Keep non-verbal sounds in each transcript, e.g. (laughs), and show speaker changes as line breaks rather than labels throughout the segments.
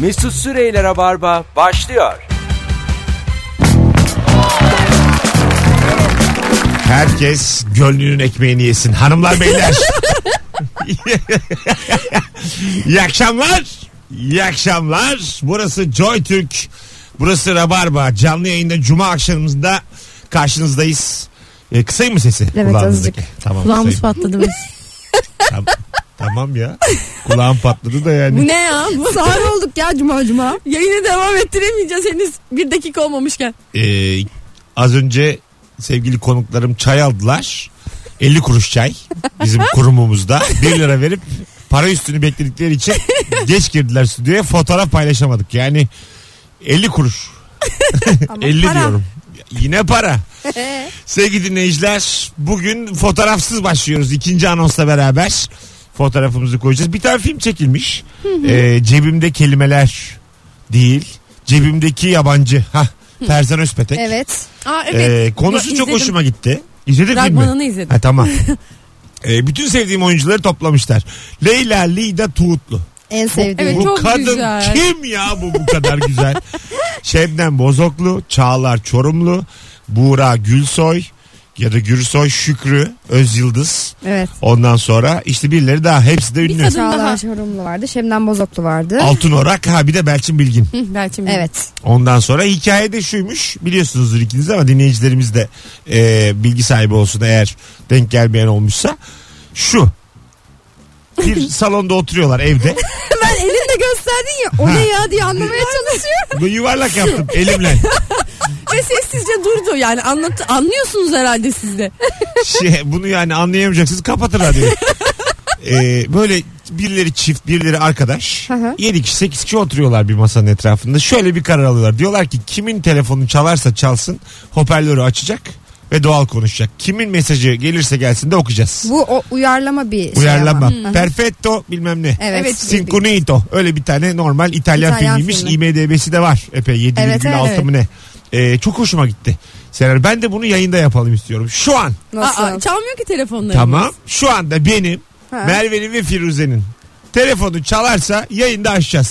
Mesut Süreyle Rabarba başlıyor.
Herkes gönlünün ekmeğini yesin.
(laughs)
Hanımlar beyler. İyi akşamlar. İyi akşamlar. Burası Joy Türk. Burası Rabarba. Canlı yayında Cuma akşamımızda karşınızdayız. E, kısayım mı sesi?
Evet azıcık.
Kulağınızdaki. Tamam,
Kulağımız
kısayım.
patladı biz.
Tamam, tamam ya. Kulağım patladı da yani.
Bu
(laughs)
ne ya? Bu
Sağır olduk ya cuma cuma.
yayını devam ettiremeyeceğiz henüz bir dakika olmamışken.
E, az önce sevgili konuklarım çay aldılar. 50 kuruş çay bizim kurumumuzda. 1 lira verip para üstünü bekledikleri için geç girdiler stüdyoya. Fotoğraf paylaşamadık. Yani 50 kuruş. 50
para.
diyorum. Yine para. Sevgili dinleyiciler bugün fotoğrafsız başlıyoruz. ikinci anonsla beraber fotoğrafımızı koyacağız. Bir tane film çekilmiş. Ee, cebimde kelimeler değil. Cebimdeki yabancı. Hah, Tarzan Özpetek.
Evet.
Aa evet.
Ee, konusu
Ya,
çok
izledim.
hoşuma gitti. İzledin mi?
Fragmanını izledim.
Ha,
(laughs)
tamam. Ee, bütün sevdiğim oyuncuları toplamışlar. Leyla Lida Tuğutlu.
En sevdiğim.
Evet,
bu
çok
kadın
güzel.
kim ya bu bu
(laughs)
kadar güzel? Şebnem Bozoklu, Çağlar Çorumlu, Buğra Gülsoy ya da Gürsoy Şükrü Özyıldız.
Evet.
Ondan sonra işte birileri daha hepsi de ünlü.
kadın-
Çağlar
daha.
Çorumlu vardı. Şemden Bozoklu vardı.
Altın Orak ha bir de Belçin Bilgin.
Hı, Belçin (laughs) Bey.
Evet.
Ondan sonra hikayede şuymuş biliyorsunuzdur ikiniz ama dinleyicilerimiz de e, bilgi sahibi olsun eğer denk gelmeyen olmuşsa. Şu
(laughs)
bir salonda oturuyorlar evde.
Ben elinde gösterdin ya o ne ya diye anlamaya (laughs) çalışıyorum.
Bu yuvarlak yaptım elimle.
Ve sessizce durdu yani anlat anlıyorsunuz herhalde siz de.
Şey, bunu yani anlayamayacaksınız kapatın radyoyu. Ee, böyle birileri çift birileri arkadaş.
Hı hı.
7 kişi 8 kişi oturuyorlar bir masanın etrafında. Şöyle bir karar alıyorlar. Diyorlar ki kimin telefonu çalarsa çalsın hoparlörü açacak ve doğal konuşacak. Kimin mesajı gelirse gelsin de okuyacağız.
Bu o uyarlama bir şey
Uyarlama.
ama.
Perfetto bilmem ne.
Evet.
Evet,
Sincunito. Öyle bir tane normal İtalyan,
İtalyan
filmiymiş.
filmi.
IMDB'si de var. Epey 7,6
Evet, evet, evet.
mı ne? Ee, çok hoşuma gitti. Sener ben de bunu yayında yapalım istiyorum. Şu an.
Nasıl?
Aa, çalmıyor ki telefonları.
Tamam. Şu anda benim,
Ha.
Merve'nin ve Firuze'nin telefonu çalarsa yayında açacağız.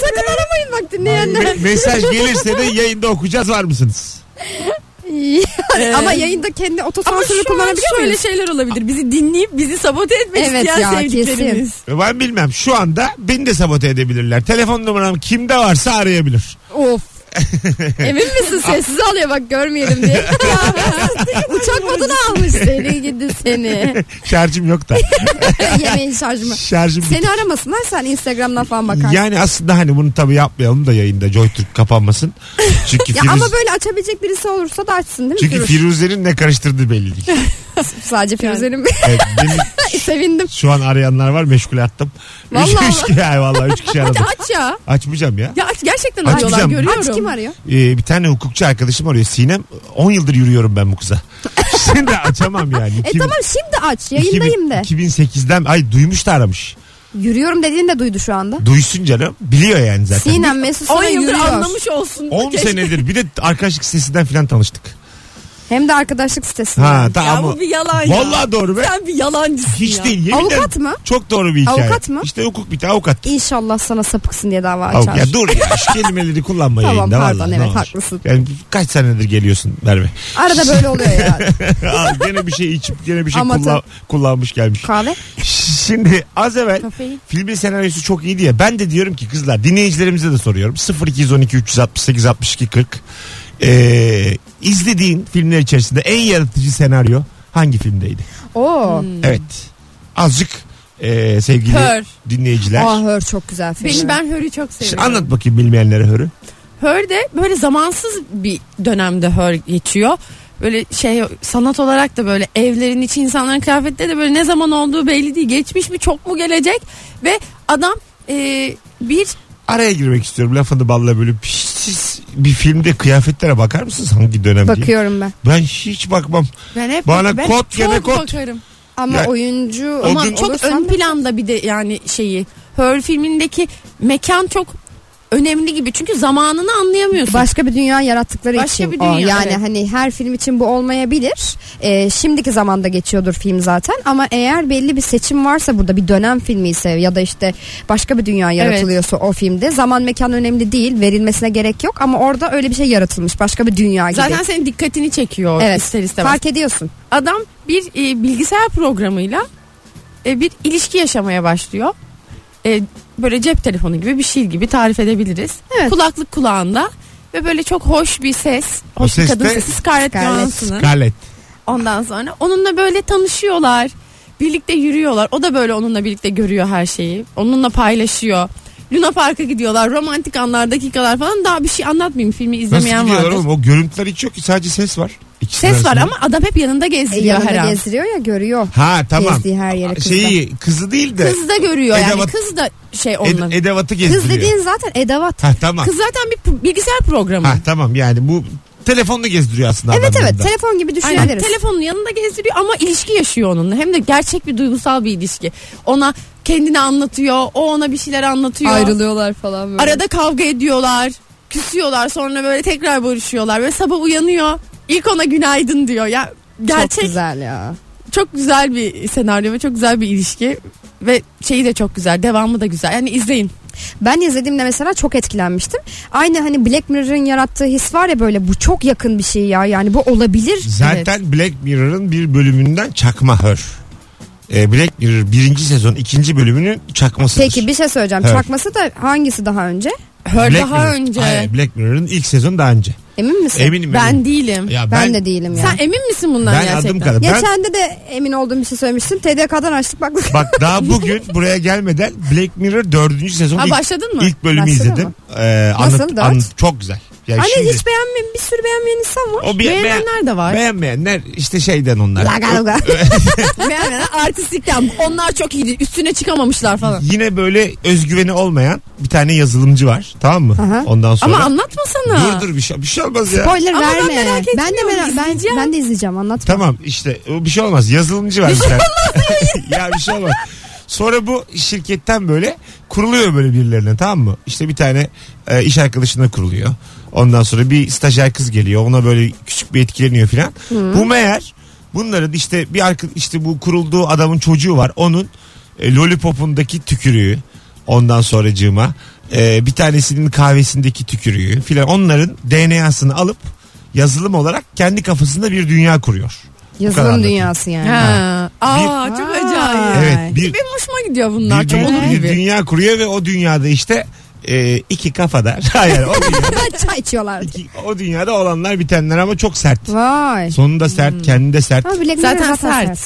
sakın aramayın bak (laughs) dinleyenler.
Me- mesaj gelirse de yayında okuyacağız var mısınız?
Ama yayında kendi
Ama
otosansürü
şu an
kullanabiliyor
şöyle
muyuz?
şeyler olabilir. Bizi dinleyip bizi sabote etmek
Evet ya,
isteyen sevdiklerimiz.
Ben bilmem. Şu anda beni de sabote edebilirler. Telefon numaram kimde varsa arayabilir.
Of. (laughs) Emin misin sessiz alıyor bak görmeyelim diye. (laughs) Ya, Uçak modunu almış seni gidi (laughs) seni.
Şarjım yok da.
Yemeğin şarjımı.
Şarjım
Seni aramasınlar sen Instagram'dan falan bakarsın. Ya,
Yani aslında hani bunu tabii yapmayalım da yayında JoyTürk kapanmasın.
(laughs)
Çünkü Firuz-
ama böyle açabilecek birisi olursa da açsın değil mi?
çünkü Firuze'nin ne karıştırdığı belli
(laughs)
değil.
Sadece Firuze'nin
Evet, benim
(laughs) sevindim.
şu an arayanlar var meşgule attım.
Vallahi
üç, üç, kişi, yani vallahi üç
(laughs)
kişi aradım.
Aç ya.
Açmayacağım ya.
Ya aç gerçekten
Aç
arıyorlar
diyeceğim.
görüyorum.
Aç kim arıyor?
Ee, bir tane hukukçu arkadaşım arıyor Sinem. 10 yıldır yürüyorum ben
(laughs)
bu kıza. Şimdi açamam yani.
E
İki-
tamam şimdi aç
iki bin-
yayındayım de.
2008'den ay duymuş da aramış.
Yürüyorum dediğini de duydu şu anda.
Duysun canım. Biliyor yani zaten.
Sinem Mesut
10
sana
yıldır
yürüyor.
anlamış olsun.
10
Keşke-
senedir bir de arkadaşlık sitesinden falan tanıştık.
Hem de arkadaşlık sitesinden.
Ha
Ya
tamam.
bu bir yalan ya.
Vallahi doğru be.
Sen bir yalancısın
Hiç
ya.
değil. Yemin
Avukat
ederim.
mı?
Çok doğru bir hikaye.
Avukat mı?
İşte hukuk bir tane avukat.
İnşallah sana sapıksın diye dava açar.
Avukat. Ya dur ya şu kelimeleri kullanma
Tamam,
yayında.
pardon,
vallahi, ne
evet,
olur.
haklısın.
Yani kaç senedir geliyorsun
(laughs)
Merve?
Arada böyle oluyor
(laughs)
ya.
Al, gene bir şey içip gene bir şey
Amatör.
kullan- kullanmış gelmiş.
Kahve.
Şimdi az evvel
Kafein.
filmin senaryosu çok iyi diye ben de diyorum ki kızlar dinleyicilerimize de soruyorum 0212 368 62 40 ee, izlediğin filmler içerisinde en yaratıcı senaryo hangi filmdeydi?
Oo.
Evet azıcık ee, sevgili
Hör.
dinleyiciler
Ah Hör çok güzel film.
Benim, ben Hör'ü çok
Şimdi
seviyorum.
anlat bakayım bilmeyenlere hörü.
Hör de böyle zamansız bir dönemde Hör geçiyor. Böyle şey sanat olarak da böyle evlerin içi insanların kıyafetleri de böyle ne zaman olduğu belli değil. Geçmiş mi çok mu gelecek ve adam e, bir
Araya girmek istiyorum lafını balla bölüp. Hiç Siz bir filmde kıyafetlere bakar mısınız hangi dönem diye?
Bakıyorum ben.
Ben hiç bakmam.
ben hep
Bana
ben çok
kot gene kot.
bakarım.
Ama
Ya-
oyuncu
O
ama
Ama
gün-
çok ön planda bir de yani şeyi Hör filmindeki mekan çok önemli gibi. Çünkü zamanını anlayamıyorsun.
Başka bir dünya yarattıkları
Başka
için o.
bir dünya,
Yani
evet.
hani her film için bu olmayabilir. Ee, şimdiki zamanda geçiyordur film zaten ama eğer belli bir seçim varsa burada bir dönem filmi ise ya da işte başka bir dünya yaratılıyorsa o filmde zaman mekan önemli değil verilmesine gerek yok ama orada öyle bir şey yaratılmış başka bir dünya gibi.
Zaten senin dikkatini çekiyor
evet
ister istemez.
fark ediyorsun.
Adam bir e, bilgisayar programıyla e, bir ilişki yaşamaya başlıyor. E, böyle cep telefonu gibi bir şey gibi tarif edebiliriz.
Evet.
Kulaklık kulağında ve böyle çok hoş bir ses.
O
Hoş bir
ses
kadın
de-
sesi Scarlett
Scarlett.
Johansson'ın.
Scarlett.
Ondan sonra onunla böyle tanışıyorlar. Birlikte yürüyorlar. O da böyle onunla birlikte görüyor her şeyi. Onunla paylaşıyor. Luna Park'a gidiyorlar. Romantik anlar, dakikalar falan. Daha bir şey anlatmayayım. Filmi
Nasıl
izlemeyen
gidiyorlar
vardır.
oğlum? O görüntüler hiç yok ki sadece ses var. İkisinin
Ses var
arasında.
ama adam hep yanında
E,
gezdiriyor her
yanında
an.
gezdiriyor ya görüyor.
Ha tamam.
Gezdiği her yere kızla.
Şeyi kızı değil de
Kız da görüyor yani.
Edevat-
Kız da şey
ed-
onunla.
edevatı gezdiriyor.
Kız dediğin zaten edavat.
Ha tamam.
Kız zaten bir p- bilgisayar programı.
Ha tamam yani bu telefonla gezdiriyor aslında.
Evet
adam
evet
yanında.
telefon gibi
Aynen.
düşünebiliriz.
Telefonun yanında gezdiriyor ama ilişki yaşıyor onunla. Hem de gerçek bir duygusal bir ilişki. Ona kendini anlatıyor. O ona bir şeyler anlatıyor.
Ayrılıyorlar falan böyle.
Arada kavga ediyorlar. Küsüyorlar sonra böyle tekrar barışıyorlar. Ve sabah uyanıyor. İlk ona günaydın diyor. Ya gerçek
Çok güzel ya.
çok güzel bir senaryo ve çok güzel bir ilişki. Ve şeyi de çok güzel. Devamı da güzel. Yani izleyin.
Ben izlediğimde mesela çok etkilenmiştim. Aynı hani Black Mirror'ın yarattığı his var ya böyle bu çok yakın bir şey ya. Yani bu olabilir.
Zaten Black Mirror'ın bir bölümünden çakma hör. Ee, Black Mirror birinci sezon ikinci bölümünün çakmasıdır.
Peki bir şey söyleyeceğim.
Evet.
Çakması da hangisi daha önce?
Hör
Black
daha
Mirror-
önce.
Hayır, Black Mirror'ın ilk sezonu daha önce.
Emin misin?
Eminim.
Ben
eminim.
değilim.
Ya
Ben, de değilim ya.
Sen emin misin bundan
Ben
gerçekten?
adım kadar. Ben,
Geçen de de emin olduğum bir şey söylemiştim. TDK'dan açtık bak. (laughs)
bak daha bugün buraya gelmeden Black Mirror dördüncü sezon
Ha,
ilk,
başladın mı?
ilk bölümü
Başladı
izledim.
mı?
Ee,
Nasıl?
anlat-
Dört?
anlat- çok güzel. Yani
Anne
şimdi-
hiç beğenmeyen bir sürü beğenmeyen insan var.
O
Beğenenler de var.
Beğenmeyenler işte şeyden onlar.
Laga laga.
Beğenmeyenler artistlikten. Onlar çok iyiydi. Üstüne çıkamamışlar falan.
Yine böyle özgüveni olmayan bir tane yazılımcı var. Tamam mı?
Aha.
Ondan sonra.
Ama anlatmasana.
Dur dur bir şey, bir şey olmaz ya.
Spoiler
Ama ben
verme.
merak
ben de
etmiyorum,
merak ben,
izleyeceğim.
ben de izleyeceğim anlatma.
Tamam işte o bir şey olmaz. Yazılımcı var bir tane. (laughs) ya bir şey olmaz. Sonra bu şirketten böyle kuruluyor böyle birilerine tamam mı? İşte bir tane e, iş arkadaşına kuruluyor. Ondan sonra bir stajyer kız geliyor. Ona böyle küçük bir etkileniyor filan. Bu meğer bunların işte bir arka, işte bu kurulduğu adamın çocuğu var. Onun e, lollipopundaki tükürüğü ondan sonracığıma e, bir tanesinin kahvesindeki tükürüğü filan onların DNA'sını alıp yazılım olarak kendi kafasında bir dünya kuruyor. kadar
Yazılım
anlatayım.
dünyası yani.
Ha. Aa
Bir-
çok
Vay.
acayip.
Evet, bir-
Benim hoşuma gidiyor bunlar.
bir,
çok
dü-
olur
bir
gibi.
dünya kuruyor ve o dünyada işte e, iki kafadar. (laughs) Hayır o, dünya-
(laughs) Çay içiyorlar.
iki- o dünyada olanlar bitenler ama çok sert.
Vay. Hmm.
Sonunda sert, kendi de sert.
Ha, Black Mirror
Zaten sert.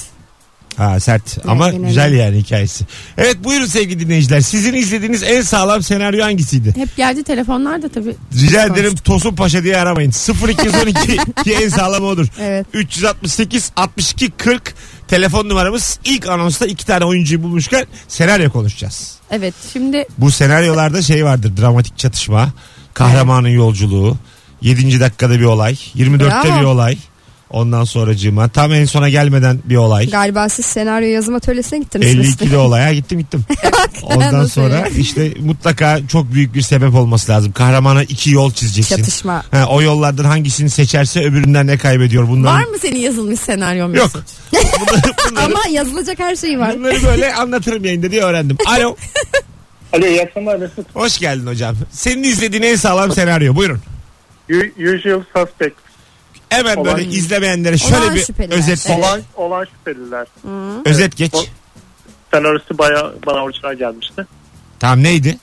Ha sert ama
yine de.
güzel yani hikayesi. Evet buyurun sevgili dinleyiciler. Sizin izlediğiniz en sağlam senaryo hangisiydi?
Hep geldi telefonlar da tabii.
Rica ederim Tosun Paşa diye aramayın.
(laughs)
0212 ki en sağlamı odur.
Evet.
368 62 40 telefon numaramız. İlk anonsta iki tane oyuncuyu bulmuşken senaryo konuşacağız.
Evet şimdi
Bu senaryolarda şey vardır dramatik çatışma, kahramanın yolculuğu, 7. dakikada bir olay, 24'te
Bravo.
bir olay. Ondan sonracığıma tam en sona gelmeden bir olay.
Galiba siz senaryo yazım atölyesine gittiniz. (laughs)
52'de olaya gittim gittim. Ondan
Nasıl
sonra
ya?
işte mutlaka çok büyük bir sebep olması lazım. Kahramana iki yol çizeceksin.
Çatışma.
Ha, o yollardan hangisini seçerse öbüründen ne kaybediyor bunların.
var mı senin yazılmış senaryon?
Yok.
Mesut?
Ama yazılacak her şey var.
Bunları böyle anlatırım yayında diye öğrendim.
(laughs)
Alo.
Alo iyi akşamlar Mesut.
Hoş geldin hocam. Senin izlediğin en sağlam senaryo. Buyurun.
U- Usual suspect
Hemen
Olan-
böyle izlemeyenlere şöyle
Olan
bir
şüpheliler.
özet
olan, olan şüpheliler.
özet geç.
O- Senaryosu baya, bana orijinal gelmişti.
Tamam neydi?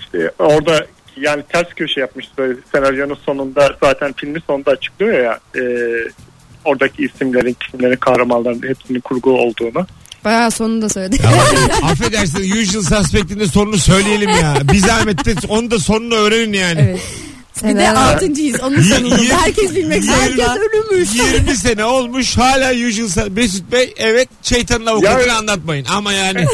İşte orada yani ters köşe yapmıştı. Senaryonun sonunda zaten filmin sonunda açıklıyor ya e, oradaki isimlerin, kimlerin, kahramanların hepsinin kurgu olduğunu.
Bayağı sonunda söyledi.
Tamam. (laughs) Affedersin Usual Suspect'in de sonunu söyleyelim ya. Bir zahmet de onu da sonunu öğrenin yani.
Evet.
Bir de altıncıyız. Onun
Y-
sonunda.
y-
Herkes bilmek
y-
zorunda.
ölümüş.
20 sene olmuş hala Usual Sus- Mesut Bey evet şeytanın avukatını
Ya-
anlatmayın. Ama yani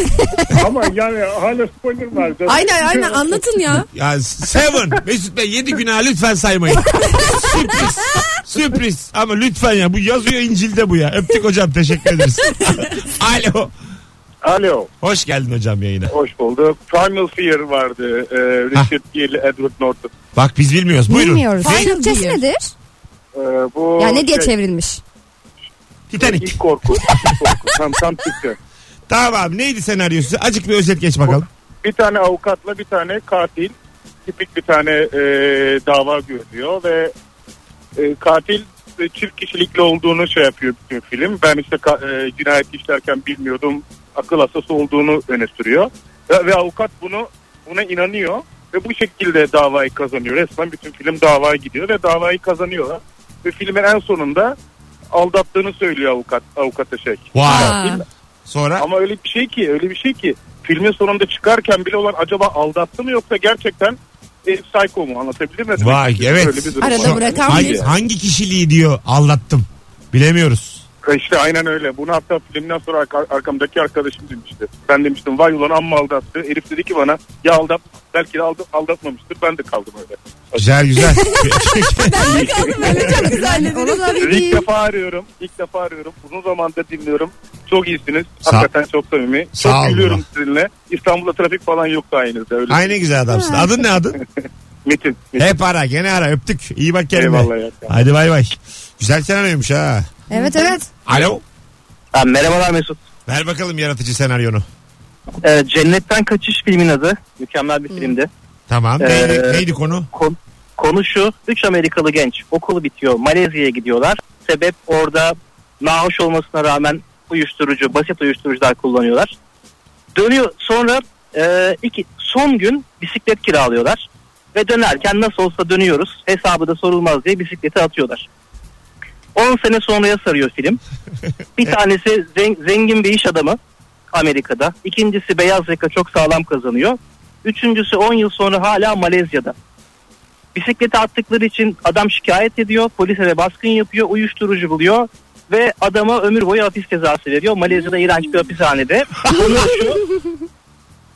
Ama yani hala spoiler var. zaten.
(laughs) (laughs) Aynen aynen anlatın ya.
ya Seven Mesut Bey 7 günah lütfen saymayın. Sürpriz. Sürpriz. Ama lütfen ya bu yazıyor İncil'de bu ya. Öptük hocam teşekkür ederiz. Alo.
Alo.
Hoş geldin hocam yayına.
Hoş bulduk. Primal Fear vardı. Ee, Richard Gere, Edward Norton.
Bak biz bilmiyoruz. Buyurun.
Bilmiyoruz.
Ne?
Türkçesi
Hayır.
nedir?
Ee, bu
Yani ne diye
şey,
çevrilmiş?
Titanic.
İlk korku. İlk korku. tam, tam Türkçe.
Tamam abi neydi senaryosu? Acık bir özet geç bakalım.
Bir tane avukatla bir tane katil tipik bir tane e, dava görüyor ve e, katil e, çift kişilikli olduğunu şey yapıyor bütün film. Ben işte ka- e, cinayet işlerken bilmiyordum akıl hastası olduğunu öne sürüyor. Ve, ve avukat bunu buna inanıyor ve bu şekilde davayı kazanıyor. Resmen bütün film davaya gidiyor ve davayı kazanıyorlar. Ve filmin en sonunda aldattığını söylüyor avukat avukata şey.
Wow.
Aa,
Sonra
Ama öyle bir şey ki öyle bir şey ki filmin sonunda çıkarken bile olan acaba aldattı mı yoksa gerçekten e, psycho mu anlatabildim mi?
Vay, evet.
Öyle bir durum
Arada
var.
bırakan
hangi,
bir-
hangi kişiliği diyor aldattım. Bilemiyoruz.
İşte aynen öyle. Bunu hatta filmden sonra arka- arkamdaki arkadaşım demişti. Ben demiştim vay ulan amma aldattı. Herif dedi ki bana ya aldat belki de aldat, aldatmamıştır. Ben de kaldım öyle.
Güzel güzel. (laughs)
çok güzel dediniz.
Sizi ilk defa arıyorum. İlk defa arıyorum. Uzun zamandır dinliyorum. Çok iyisiniz.
Sağ-
Hakikaten çok samimi.
Sağ olun.
çok gülüyorum sizinle. İstanbul'da trafik falan yok sayenizde. Öyle.
Ay ne güzel adamsın. Adın ne adın?
Metin. Metin.
Hep ara gene ara öptük. İyi bak kendine.
Eyvallah ya.
Hadi bay bay. Güzel senaryoymuş ha.
Evet evet.
Alo.
Ha, merhabalar Mesut.
Ver bakalım yaratıcı senaryonu.
Ee, Cennetten Kaçış filmin adı. Mükemmel bir filmdi.
Tamam.
Ee,
Neydi, neydi konu?
Kon- konu şu. Üç Amerikalı genç okulu bitiyor. Malezya'ya gidiyorlar. Sebep orada nahoş olmasına rağmen uyuşturucu, basit uyuşturucular kullanıyorlar. Dönüyor sonra e, iki son gün bisiklet kiralıyorlar. Ve dönerken nasıl olsa dönüyoruz. Hesabı da sorulmaz diye bisikleti atıyorlar. 10 sene sonraya sarıyor film. Bir tanesi zen- zengin bir iş adamı Amerika'da. İkincisi beyaz yaka çok sağlam kazanıyor. Üçüncüsü 10 yıl sonra hala Malezya'da. Bisiklete attıkları için adam şikayet ediyor. Polise de baskın yapıyor. Uyuşturucu buluyor. Ve adama ömür boyu hapis cezası veriyor. Malezya'da iğrenç bir hapishanede. Konu da şu.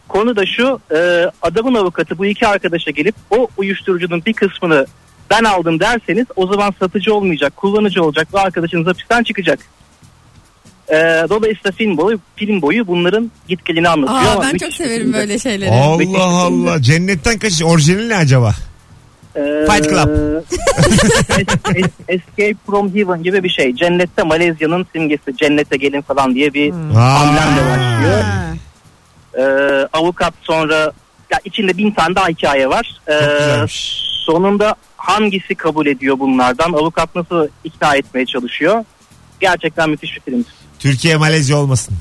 Konu da şu. e, adamın avukatı bu iki arkadaşa gelip o uyuşturucunun bir kısmını ben aldım derseniz o zaman satıcı olmayacak, kullanıcı olacak ve arkadaşınız hapisten çıkacak. E, dolayısıyla film boyu, film boyu bunların gitgelini anlatıyor.
Aa,
ama
ben
müthiş
çok
bir
severim
filmdi.
böyle şeyleri.
Allah Allah. Cennetten kaçış. Orijinali ne acaba?
Ee,
Fight Club.
(laughs) Es- Es- Escape from Heaven gibi bir şey. Cennette Malezya'nın simgesi. Cennete gelin falan diye bir
Hmm. Aa,
hamlemle başlıyor. Ee, avukat sonra ya içinde bin tane daha hikaye var. Ee,
Çok güzelmiş.
sonunda hangisi kabul ediyor bunlardan? Avukat nasıl ikna etmeye çalışıyor? Gerçekten müthiş bir film.
Türkiye Malezya olmasın.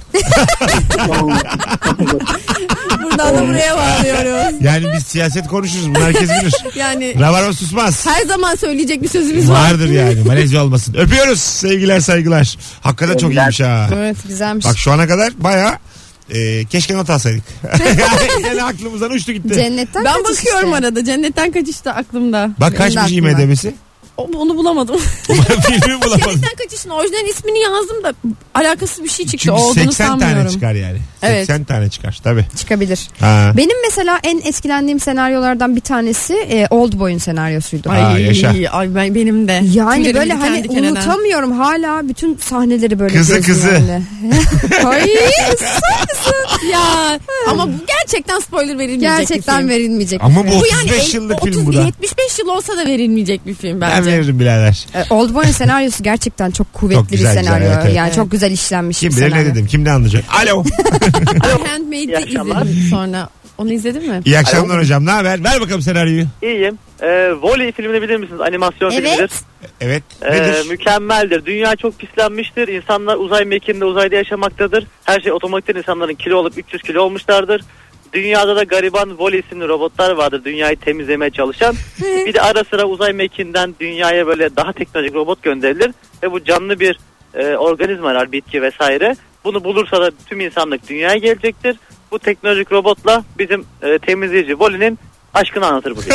Buradan da buraya bağlıyoruz.
Yani biz siyaset konuşuruz. Bunu herkes bilir.
Yani
Rabarba susmaz.
her zaman söyleyecek bir sözümüz var.
Vardır yani. Malezya olmasın. Öpüyoruz. Sevgiler saygılar. Hakikaten çok iyiymiş ha.
Evet güzelmiş.
Bak şu ana kadar baya e, keşke
(laughs)
not alsaydık. yani aklımızdan uçtu gitti.
Cennetten
Ben
kaçış
bakıyorum
işte.
arada. Cennetten kaçış da aklımda.
Bak kaçmış
Benim de aklımda.
(laughs)
IMDB'si.
O- Onu bulamadım.
Filmi bulamadım.
Cennetten kaçışın orijinal ismini yazdım da alakasız bir şey çıktı.
Çünkü
Olduğunu
80
sanmıyorum.
tane çıkar yani.
Evet.
80 tane çıkar tabii.
Çıkabilir.
Ha.
Benim mesela en etkilendiğim senaryolardan bir tanesi e, Oldboy'un senaryosuydu.
Ay,
Aa, yaşa.
ay ben- benim de.
Yani
Tüylerim
böyle
diken
hani
diken eden.
unutamıyorum hala bütün sahneleri böyle
Kızı,
gözümün
kızı. (laughs)
önüne.
Ay ısrar mısın? (laughs) ya ama bu gerçekten spoiler verilmeyecek bir
Gerçekten
film.
verilmeyecek.
Ama bu
Bu yani
35
el-
yıllık
30
film bu da.
75 yıl olsa da verilmeyecek bir film
Ben
bence.
veririm birader.
E, Oldboy'un senaryosu gerçekten çok kuvvetli
Çok güzel,
bir
güzel,
senaryo.
evet, evet.
Yani
Evet.
çok güzel işlenmiş
Kim
bir
bilir ne
senaryo.
dedim. Kim ne anlayacak. Alo.
Ay, Handmaid'i
İyi akşamlar.
izledim sonra. Onu izledin mi?
İyi akşamlar hocam. Ne haber? Ver bakalım senaryoyu.
İyiyim. Ee, Volley filmini bilir misiniz? Animasyon
Evet.
filmidir.
Evet.
Ee,
Nedir?
mükemmeldir. Dünya çok pislenmiştir. İnsanlar uzay mekiğinde uzayda yaşamaktadır. Her şey otomatikten insanların kilo olup 300 kilo olmuşlardır. Dünyada da gariban Volley isimli robotlar vardır dünyayı temizlemeye çalışan. bir de ara sıra uzay mekiğinden dünyaya böyle daha teknolojik robot gönderilir. Ve bu canlı bir e, organizma arar bitki vesaire. Bunu bulursa da tüm insanlık dünyaya gelecektir. Bu teknolojik robotla bizim e, temizleyici Volley'nin aşkını anlatır bugün.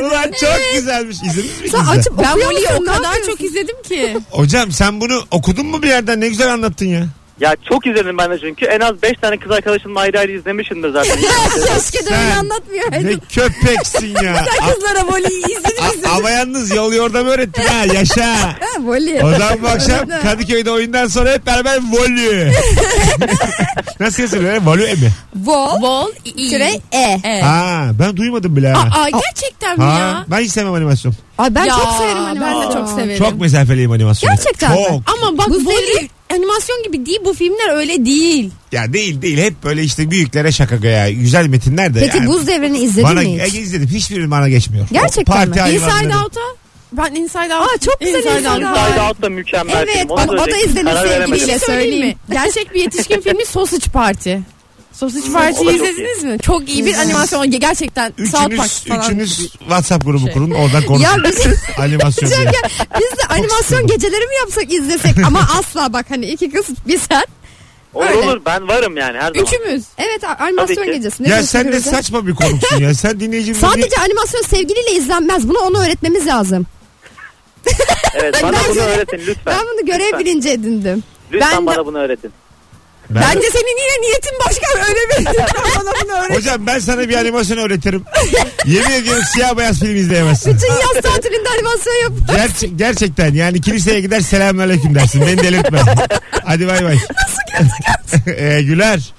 Ulan çok güzelmiş. İzlediniz
Sen
mi? ikiniz de?
açıp
Ben
okuyor
Voli'yi
musun?
o
Ne
kadar
yapıyorsun?
çok izledim ki.
Hocam sen bunu okudun mu bir yerden? Ne güzel anlattın ya.
Ya çok izledim ben de çünkü. En az 5 tane kız arkadaşımla ayrı ayrı izlemişimdir zaten.
Keşke de öyle
Sen-
anlatmıyor.
Ne köpeksin ya.
(laughs)
Kızlara Voli'yi izledim
A-
izledim.
Ama yalnız yol yordam öğrettin ha
(laughs)
yaşa.
Ha, voley.
O zaman bu akşam
Orada.
Kadıköy'de oyundan sonra hep beraber
(laughs)
volü. Nasıl yazılıyor? Volü mi?
Vol,
Vol i.
tire, e.
Evet.
Ha, ben duymadım bile. ha.
Aa, gerçekten mi
Ha,
ya?
ben hiç sevmem animasyon.
Ay ben
Ya,
çok severim
Ben de
animasyon.
çok severim.
Çok mesafeliyim animasyona.
Gerçekten mi?
Çok.
Ama bak
Bu
bu
seri-
animasyon gibi değil bu filmler öyle değil.
Ya değil değil hep böyle işte büyüklere şaka ya. Güzel metinler de.
Peki
yani.
Buz Devri'ni izledin
bana,
mi hiç?
E, izledim. Hiçbiri bana geçmiyor.
Gerçekten
O parti
mi?
hayvanları.
Inside Out'a ben Inside Out.
Aa, çok güzel Inside Out.
Inside Out da mükemmel
Evet,
film. Onu
bak o da
söyleyecektim.
izlenir
Karar veremedim.
Bir
sevgiliyle
şey söyleyeyim mi?
söyleyeyim.
Gerçek bir yetişkin filmi Sausage Party. Sausage
o
Party'yi
da çok
izlediniz mi? Çok iyi bir
İzledim.
animasyon. Gerçekten South Park
Üçünüz,
falan.
üçünüz WhatsApp grubu
(laughs)
kurun oradan konuşun.
Şey. Ya biz,
(laughs) Animasyon.
Diyeceğim
diye.
ya, biz de animasyon
sıkıldım.
geceleri mi yapsak izlesek ama asla bak hani iki kız bir sen.
Olur
Öyle.
olur ben varım yani her zaman.
Üçümüz.
Evet a- animasyon
ki.
gecesi. Ne
Ya
diyorsun
sen de
Firuze?
saçma bir konuksun ya. Sen dinleyicimize niye-
Sadece animasyon sevgiliyle izlenmez. Bunu onu öğretmemiz lazım.
Evet bana
Ben-
bunu öğretin lütfen.
Ben bunu görev
Lütfen,
bilinci edindim.
lütfen
ben de-
bana bunu öğretin.
Ben-
Bence senin yine niyetin başka öyle bir
(laughs)
bana bunu öğret.
Hocam ben sana bir animasyon öğretirim. (laughs) Yemin ediyorum siyah beyaz film izleyemezsin.
Bütün yaz tatilinde animasyon yap.
Gerçe- gerçekten yani kiliseye gider selamünaleyküm dersin.
(laughs)
Beni delirtme. Hadi bay bay. (laughs) Ee, güler.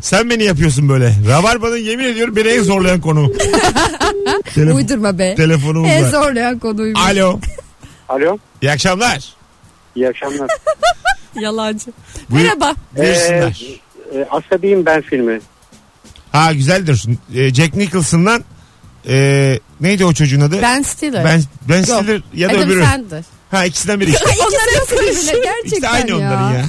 Sen beni yapıyorsun böyle. Rabarba'nın yemin ediyorum beni en
(laughs)
zorlayan konu. Telef-
Uydurma be.
telefonum
En
var.
zorlayan konuymuş.
Alo.
Alo.
İyi akşamlar.
İyi akşamlar.
Yalancı.
Buyur-
Merhaba.
Buyursunlar.
e, Asabiyim ben filmi.
Ha güzeldir. Ee, Jack Nicholson'dan e, neydi o çocuğun adı?
Ben Stiller.
Ben, ben Stiller ya da
Adam
öbürü.
Sandler.
Ha ikisinden
(laughs)
biri işte.
Onlar nasıl birbirine
İkisi de
gerçekten
aynı
ya.
onların ya.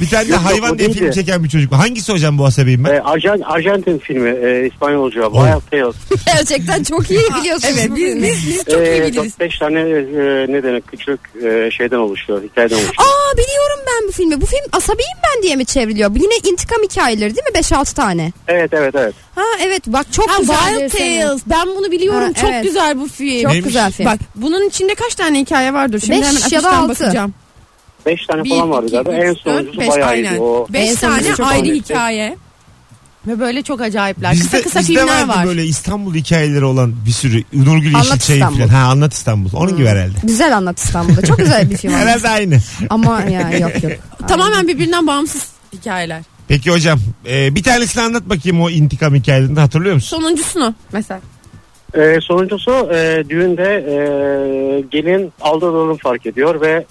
Bir tane de
Yok, yok,
hayvan
o
diye
değildi.
film çeken bir çocuk. var. Hangisi hocam bu asabeyim ben?
E, Arjan, Arjantin filmi e, İspanyolca Wild Tales.
Gerçekten çok
(laughs)
iyi biliyorsunuz.
Evet
bu
biz,
filmi.
biz, biz çok
Ee,
iyi biliriz.
5 Ee, tane e, ne denir küçük e, şeyden oluşuyor, hikayeden oluşuyor.
Aa biliyorum ben bu filmi. Bu film Asabiyim Ben diye mi çevriliyor? Yine intikam hikayeleri değil mi? 5-6 tane.
Evet evet evet.
Ha evet bak çok
Ha,
güzel.
Wild Tales. Ben bunu biliyorum.
Ha,
çok
evet.
güzel bu film.
Çok
Neymiş?
güzel film.
Bak bunun içinde kaç tane hikaye vardır? Şimdi
Beş
hemen
ya da
afişten
altı.
bakacağım.
5 tane
Bir,
falan vardı
iki,
zaten.
üç,
En
dört,
sonuncusu
beş,
bayağı
aynen.
iyiydi. O,
Beş
En
tane
sonuncusu çok
ayrı
iyi.
hikaye. Ve böyle çok acayipler. kısa
Bizde,
kısa
bizde
filmler
vardı
var.
böyle İstanbul hikayeleri olan bir sürü. Nurgül
Anlat
Yeşilçay'ın
İstanbul.
falan. Ha anlat İstanbul.
Hmm.
Onun gibi herhalde.
Güzel anlat İstanbul'da. Çok güzel bir film.
Herhalde aynı.
(laughs) Ama yani (laughs) yok yok.
Tamamen birbirinden bağımsız hikayeler.
Peki hocam e, bir tanesini anlat bakayım o intikam hikayelerini hatırlıyor musun?
Sonuncusunu mesela.
E, sonuncusu e, düğünde e, gelin aldatıldığını fark ediyor ve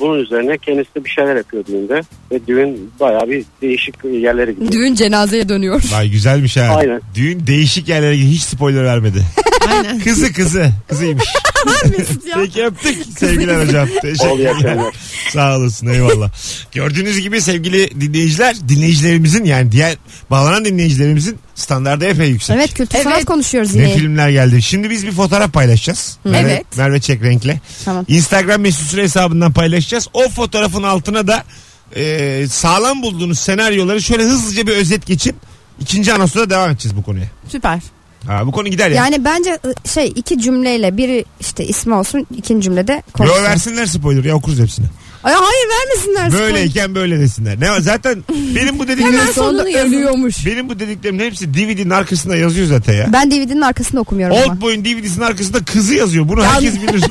bunun üzerine kendisi bir şeyler yapıyor düğünde. Ve düğün bayağı bir değişik yerlere gidiyor.
Düğün cenazeye dönüyor.
Vay güzelmiş ha.
Aynen.
Düğün değişik yerlere gitti. Hiç spoiler vermedi.
Aynen.
(laughs) Kızı kızı.
(laughs)
Kızıymış. Peki öptük sevgiler hocam.
Oldu, iyi
Teşekkürler.
akşamlar.
Sağ olasın eyvallah. Gördüğünüz gibi sevgili dinleyiciler dinleyicilerimizin yani diğer bağlanan dinleyicilerimizin standardı epey
(laughs)
yüksek.
Evet kültür sanat
Evet.
konuşuyoruz
Ne
yine.
filmler geldi. Şimdi biz bir fotoğraf paylaşacağız. Merve,
Evet.
Merve Çekrenk'le.
Tamam.
Instagram mesut süre hesabından paylaşacağız. O fotoğrafın altına da e, sağlam bulduğunuz senaryoları şöyle hızlıca bir özet geçin. İkinci anonsu da devam edeceğiz bu konuya.
Süper.
Ha, bu konu gider ya.
Yani bence ı, şey iki cümleyle biri işte ismi olsun ikinci cümlede
Yo,
konuşsun.
versinler spoiler ya okuruz hepsini.
Ay, hayır vermesinler. spoiler.
Böyleyken böyle desinler. Ne var? zaten benim bu
Hemen
dediklerim
sonunu
Sonunda
yazın.
ölüyormuş.
benim bu dediklerimin hepsi DVD'nin arkasında yazıyor zaten ya.
Ben DVD'nin arkasında okumuyorum ama.
Oldboy'un DVD'sinin arkasında kızı yazıyor. Bunu herkes bilir.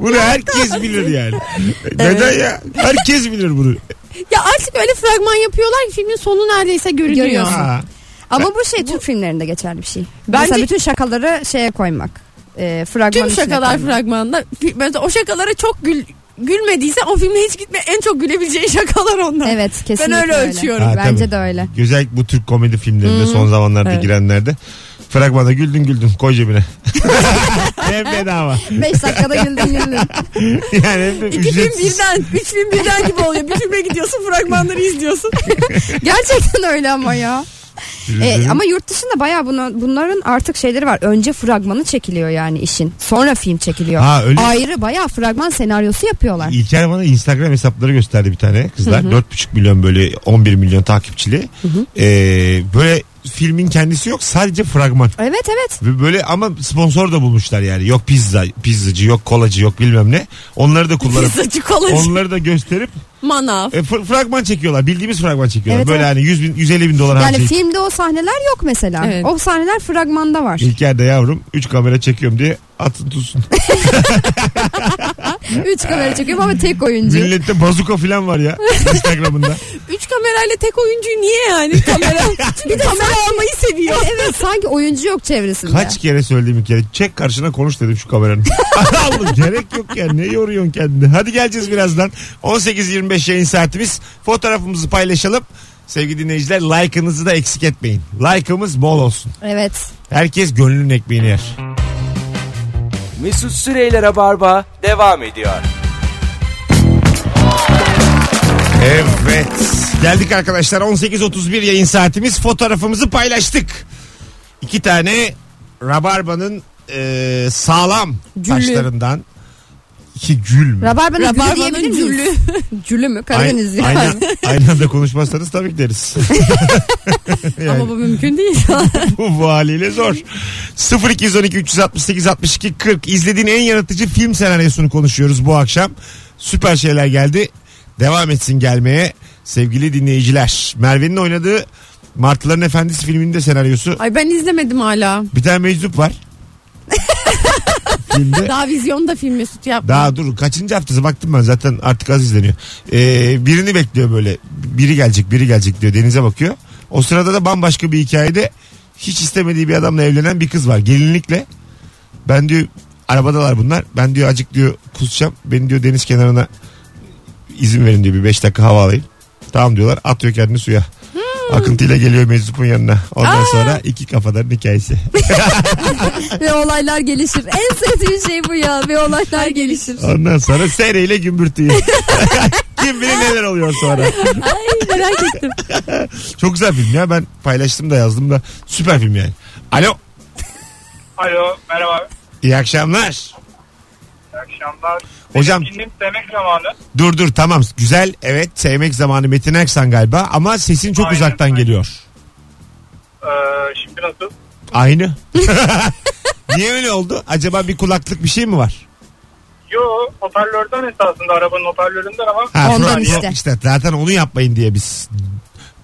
bunu herkes bilir yani. Neden ya? Herkes bilir bunu.
Ya artık öyle fragman yapıyorlar ki filmin sonu neredeyse görünüyor.
Görüyorsun.
Ha.
Ama bu şey Türk filmlerinde geçerli bir şey.
Bence-
Mesela bütün şakaları şeye koymak. E, fragman
Tüm
içine
şakalar
koymak.
fragmanda. Fi- Mesela o şakalara çok gül gülmediyse o filme hiç gitme en çok gülebileceğin (laughs) şakalar onlar.
Evet kesinlikle
ben öyle ölçüyorum.
Ha,
Bence
tabii.
de
(laughs)
öyle.
Güzel bu Türk komedi filmlerinde son zamanlarda
Evet.
girenlerde. Fragmanda güldün güldün koy cebine.
(laughs)
hem bedava. (laughs)
5 dakikada güldün
(laughs)
güldün.
Yani hem de
İki film
ücretsiz.
birden, üç film birden gibi oluyor. Bir filme gidiyorsun fragmanları
(laughs)
izliyorsun.
Gerçekten öyle ama ya. E,
Üzüldüm.
ama yurt dışında baya buna, bunların artık şeyleri var. Önce fragmanı çekiliyor yani işin. Sonra film çekiliyor.
Ha, öyle.
Ayrı baya fragman senaryosu yapıyorlar.
İlker bana Instagram hesapları gösterdi bir tane kızlar. 4,5 milyon böyle 11 milyon takipçili. Ee, böyle filmin kendisi yok sadece fragman.
Evet evet.
Ve böyle ama sponsor da bulmuşlar yani. Yok pizza, pizzacı, yok kolacı, yok bilmem ne. Onları da kullanıp
Pizzacı kolacı.
onları da gösterip
Manav.
e, fr- fragman çekiyorlar. Bildiğimiz fragman çekiyorlar.
Evet,
böyle
evet.
hani 100 bin 150 bin dolar
Yani
harcayıp.
filmde o sahneler yok mesela.
Evet.
O sahneler fragmanda var.
İlker de yavrum 3 kamera çekiyorum diye
(laughs)
atın tutsun.
Üç kamera çekiyorum ama tek oyuncu.
Millette bazuka falan
(laughs)
var ya Instagram'ında.
Üç kamerayla tek oyuncuyu niye
(laughs)
yani? Kamera. Çünkü kamera almayı seviyor.
evet sanki oyuncu yok çevresinde.
Kaç kere söyledim bir kere. Çek karşına konuş dedim şu kameranın. (laughs) Allah'ım gerek yok ya. Ne yoruyorsun kendini? Hadi geleceğiz birazdan. 18.25 yayın saatimiz. Fotoğrafımızı paylaşalım. Sevgili dinleyiciler like'ınızı da eksik etmeyin. Like'ımız bol olsun.
Evet.
Herkes gönlünün ekmeğini yer.
Mesut Süreyler'e barba devam ediyor.
Evet. Geldik arkadaşlar 18.31 yayın saatimiz. Fotoğrafımızı paylaştık. İki tane Rabarba'nın e, sağlam
Güllü.
taşlarından. İki gül mü?
Rabarbanın gülü diyebilir
Rabarbanın
miyiz?
cüllü. (laughs)
Cülü mü?
Ay-
Karadenizli.
Aynı, aynı anda konuşmazsanız tabii ki deriz.
Ama bu mümkün (laughs) değil.
bu, bu haliyle zor. 0212 368 62 40 izlediğin en yaratıcı film senaryosunu konuşuyoruz bu akşam. Süper şeyler geldi. Devam etsin gelmeye sevgili dinleyiciler. Merve'nin oynadığı Martıların Efendisi filminin de senaryosu.
Ay ben izlemedim hala.
Bir tane meczup var. Filmde.
Daha vizyonda film Mesut yapma.
Daha dur kaçıncı haftası baktım ben zaten artık az izleniyor. Ee, birini bekliyor böyle biri gelecek biri gelecek diyor denize bakıyor. O sırada da bambaşka bir hikayede hiç istemediği bir adamla evlenen bir kız var gelinlikle. Ben diyor arabadalar bunlar ben diyor acık diyor kusacağım beni diyor deniz kenarına izin verin diyor bir 5 dakika hava alayım. Tamam diyorlar atıyor kendini suya. Akıntıyla geliyor meczupun yanına. Ondan sonra iki kafaların hikayesi.
Ve olaylar (laughs) gelişir. En sevdiğim şey bu ya. Ve olaylar gelişir.
Ondan sonra
(laughs)
sereyle gümbürtüyü. Kim bilir neler oluyor sonra.
Ay merak ettim.
(laughs) Çok güzel film ya. Ben paylaştım da yazdım da. Süper film yani. Alo.
Alo merhaba.
iyi akşamlar.
İyi akşamlar.
Hocam
Şimdi demek zamanı.
dur dur tamam. Güzel evet sevmek zamanı Metin Aksan galiba ama sesin çok
Aynen,
uzaktan
aynen.
geliyor.
Ee, şimdi nasıl? (laughs)
Aynı. Niye öyle oldu? Acaba bir kulaklık bir şey mi var?
Yo hoparlörden esasında arabanın hoparlöründen ama
Ha,
Ondan
pro-
işte.
işte. Zaten onu yapmayın diye biz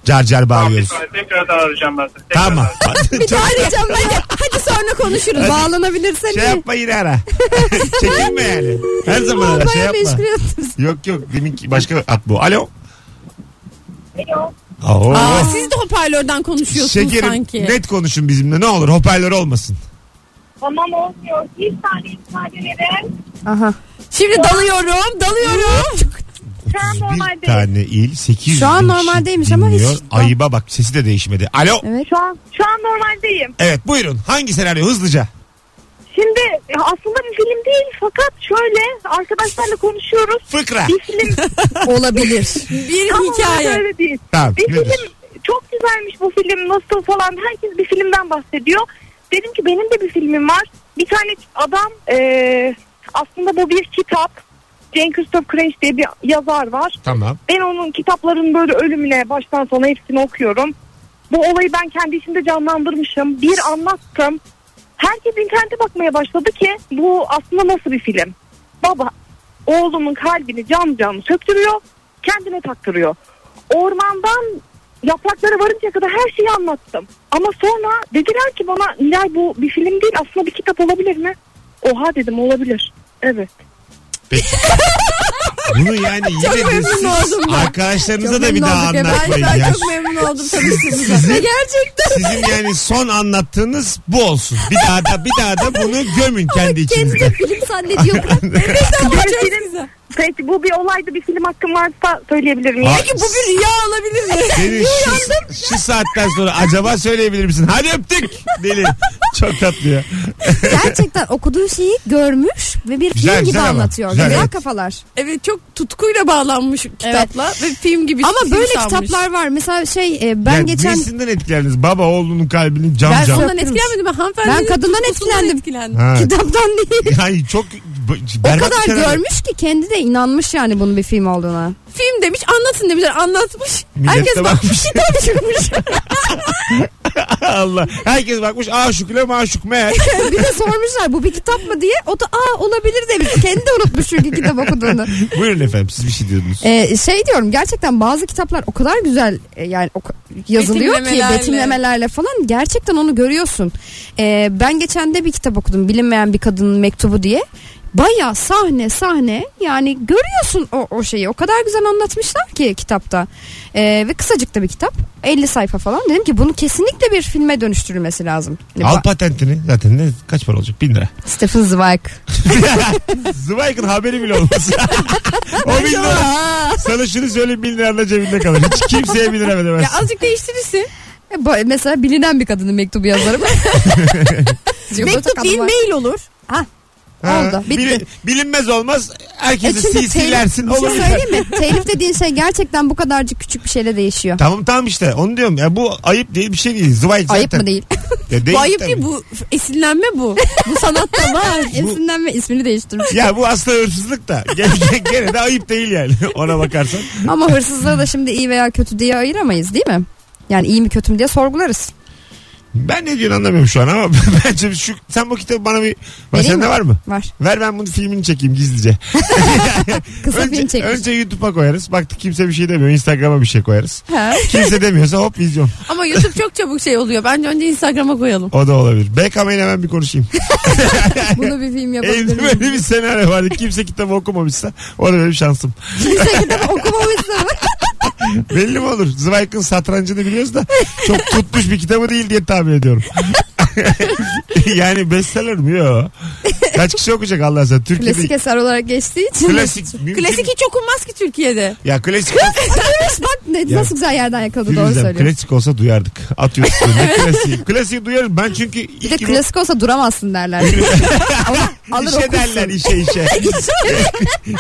car car
Tamam, bir
bağırıyoruz.
saniye, tekrardan arayacağım ben seni. Tekrardan
Tamam.
arayacağım.
(laughs)
(laughs)
Çok-
Arayacağım ben. Hadi sonra konuşuruz. Bağlanabilirsen
Hani-
şey
iyi.
yapma yine ara. (laughs) Çekinme yani. Her zaman ara şey
Olmaya meşgul
yapma.
ediyorsun.
Yok yok deminki başka at bu. Alo.
Alo.
Oo.
Aa, siz de hoparlörden konuşuyorsunuz
oh. Şekerim
sanki.
net konuşun bizimle ne olur hoparlör olmasın.
Tamam olmuyor. Bir saniye müsaade verin.
Aha.
Şimdi dalıyorum, dalıyorum.
Şu an
31
normaldeyim.
tane il 800
Şu an
bin
normaldeymiş
kişi
ama hiç-
dinliyor. Ayıba bak sesi de değişmedi. Alo. Evet,
Evet.
Şu an, şu an normaldeyim.
buyurun hangi senaryo hızlıca?
Şimdi e, aslında bir film değil fakat şöyle arkadaşlarla konuşuyoruz.
Fıkra.
Bir
(laughs)
film
Olabilir. (laughs)
Bir
tam olarak
hikaye.
öyle değil.
Tamam.
Bir
nedir?
film çok güzelmiş bu film nasıl falan herkes bir filmden bahsediyor. Dedim ki benim de bir filmim var. Bir tane adam e, aslında bu bir kitap. Jane Christoph Cranch diye bir yazar var.
Tamam.
Ben onun kitaplarının böyle ölümüne baştan sona hepsini okuyorum. Bu olayı ben kendi içimde canlandırmışım. Bir anlattım. Herkes internete bakmaya başladı ki bu aslında nasıl bir film? Baba oğlumun kalbini cam cam söktürüyor. Kendine taktırıyor. Ormandan yapraklara varıncaya kadar her şeyi anlattım. Ama sonra dediler ki bana Nilay bu bir film değil aslında bir kitap olabilir mi? Oha dedim olabilir. Evet.
(laughs)
Peki. Bunu yani yine de
memnun
siz
oldum ben.
arkadaşlarınıza
Çok
da bir
memnun
daha
olduk ya.
anlatmayın.
Ben,
ya.
ben çok memnun oldum tanıştığımıza.
Sizin-
Ya Gerçekten.
Sizin yani son anlattığınız bu olsun. Bir daha da bir daha da bunu gömün kendi içinizde.
Kendini film
(laughs)
zannediyor. bırak.
Ama çok güzel.
Peki bu bir olaydı bir film hakkım varsa söyleyebilir miyim?
Ay,
Peki bu bir rüya olabilir mi?
Senin şu, şu saatten sonra acaba söyleyebilir misin? Hadi öptük deli. Çok tatlı ya.
Gerçekten okuduğu şeyi görmüş ve bir
Güzel,
film gibi
güzel ama.
anlatıyor.
Güzel,
Güzel,
evet.
kafalar.
evet çok tutkuyla bağlanmış kitapla ve film gibi.
Ama
film
böyle
sanmış.
kitaplar var. Mesela şey e, ben
Yani
geçen (laughs)
Nesinden etkilendiniz? Baba oğlunun kalbini cam
Ben
cam.
ondan
Yaptırmış.
etkilenmedim. Ben hanımefendinin
Ben kadından
tutkusundan
etkilendim.
Ha.
kitaptan değil.
Yani çok
O
berbat bir
kadar
senaryo.
görmüş ki kendi de inanmış yani bunun bir film olduğuna.
Film demiş anlatın demişler anlatmış.
Millet
(laughs)
Herkes
de
bakmış
bakmış.
kitap çıkmış.
(laughs) Allah. Herkes bakmış aşıkla maşuk meğer.
bir de sormuşlar bu bir kitap mı diye. O da aa olabilir demiş. Kendi de unutmuş çünkü kitap okuduğunu.
Buyurun efendim siz bir şey diyordunuz.
Ee, şey diyorum gerçekten bazı kitaplar o kadar güzel e, yani o ka- yazılıyor
Betimlemelerle.
ki betimlemelerle falan gerçekten onu görüyorsun. Ee, ben geçen de bir kitap okudum bilinmeyen bir kadının mektubu diye. Baya sahne sahne yani görüyorsun o, o şeyi o kadar güzel anlatmışlar ki kitapta Ee, ve kısacık da bir kitap 50 sayfa falan dedim ki bunu kesinlikle bir filme dönüştürülmesi lazım. Hani
Al
ba-
patentini zaten ne kaç para olacak? Bin lira.
Stephen
(laughs)
Zweig.
(laughs) Zweig'in haberi bile
(laughs)
olmaz. o bin lira.
Aa,
Sana şunu söyleyeyim bin liran da cebinde kalır. Hiç kimseye bin lira
Ya
veremezsin.
azıcık (laughs) değiştirirsin.
bu- E, Mesela bilinen bir kadının mektubu
(laughs)
yazarım.
Mektup değil mail olur.
Ha,
oldu, bitti.
bili- bilinmez olmaz.
E
Herkesi
çünkü
CC'lersin.
Bir şey
Olur.
söyleyeyim mi? Telif dediğin şey gerçekten bu kadarcık küçük bir şeyle değişiyor.
Tamam tamam işte onu diyorum. Ya bu ayıp değil bir şey değil. Zweig zaten.
Ayıp mı
(laughs)
değil?
Ya değil
Bu ayıp
tabii.
değil bu esinlenme (laughs) bu. bu sanatta var.
Esin'den ve ismini değiştirmiş.
Ya bu aslında hırsızlık da. Gene, gene de ayıp değil yani (laughs) ona bakarsan.
Ama hırsızlığı da şimdi iyi veya kötü diye ayıramayız değil mi? Yani iyi mi kötü mü diye sorgularız.
Ben ne diyorsun anlamıyorum şu an ama (laughs) bence şu sen bu kitabı bana bir bak
Vereyim
sende
mi?
var mı?
Var.
Ver ben bunu filmini çekeyim gizlice.
Kısa film
önce,
çekmiş.
önce YouTube'a koyarız. Baktık kimse bir şey demiyor. Instagram'a bir şey koyarız.
Ha.
Kimse demiyorsa hop vizyon.
Ama YouTube çok çabuk şey oluyor. Bence önce Instagram'a koyalım.
O da olabilir. BKM ile hemen bir konuşayım.
Bunu bir film (laughs) yapabilir
Evde
miyim?
böyle bir senaryo vardı. Kimse kitabı okumamışsa o da benim şansım.
Kimse kitap okumamışsa
Belli mi olur? Zweig'in satrancını biliyoruz da çok tutmuş bir kitabı değil diye tahmin ediyorum. (laughs) yani bestseller mi? Yok. Kaç kişi okuyacak Allah sana? Türkiye'de
klasik eser olarak geçtiği için.
Klasik. mümkün-
Klasik hiç okunmaz ki Türkiye'de.
Ya klasik.
Neymiş bak ne,
Ya.
nasıl güzel yerden yakaladı doğru
Filizem,
söylüyor.
klasik olsa duyardık. Atıyoruz. ne klasiği? Klasiği duyarım. Ben çünkü
Bir de
ilk
klasik olsa duramazsın derler. Ama alır
işe derler
okursun.
işe
(laughs)
işe. (laughs)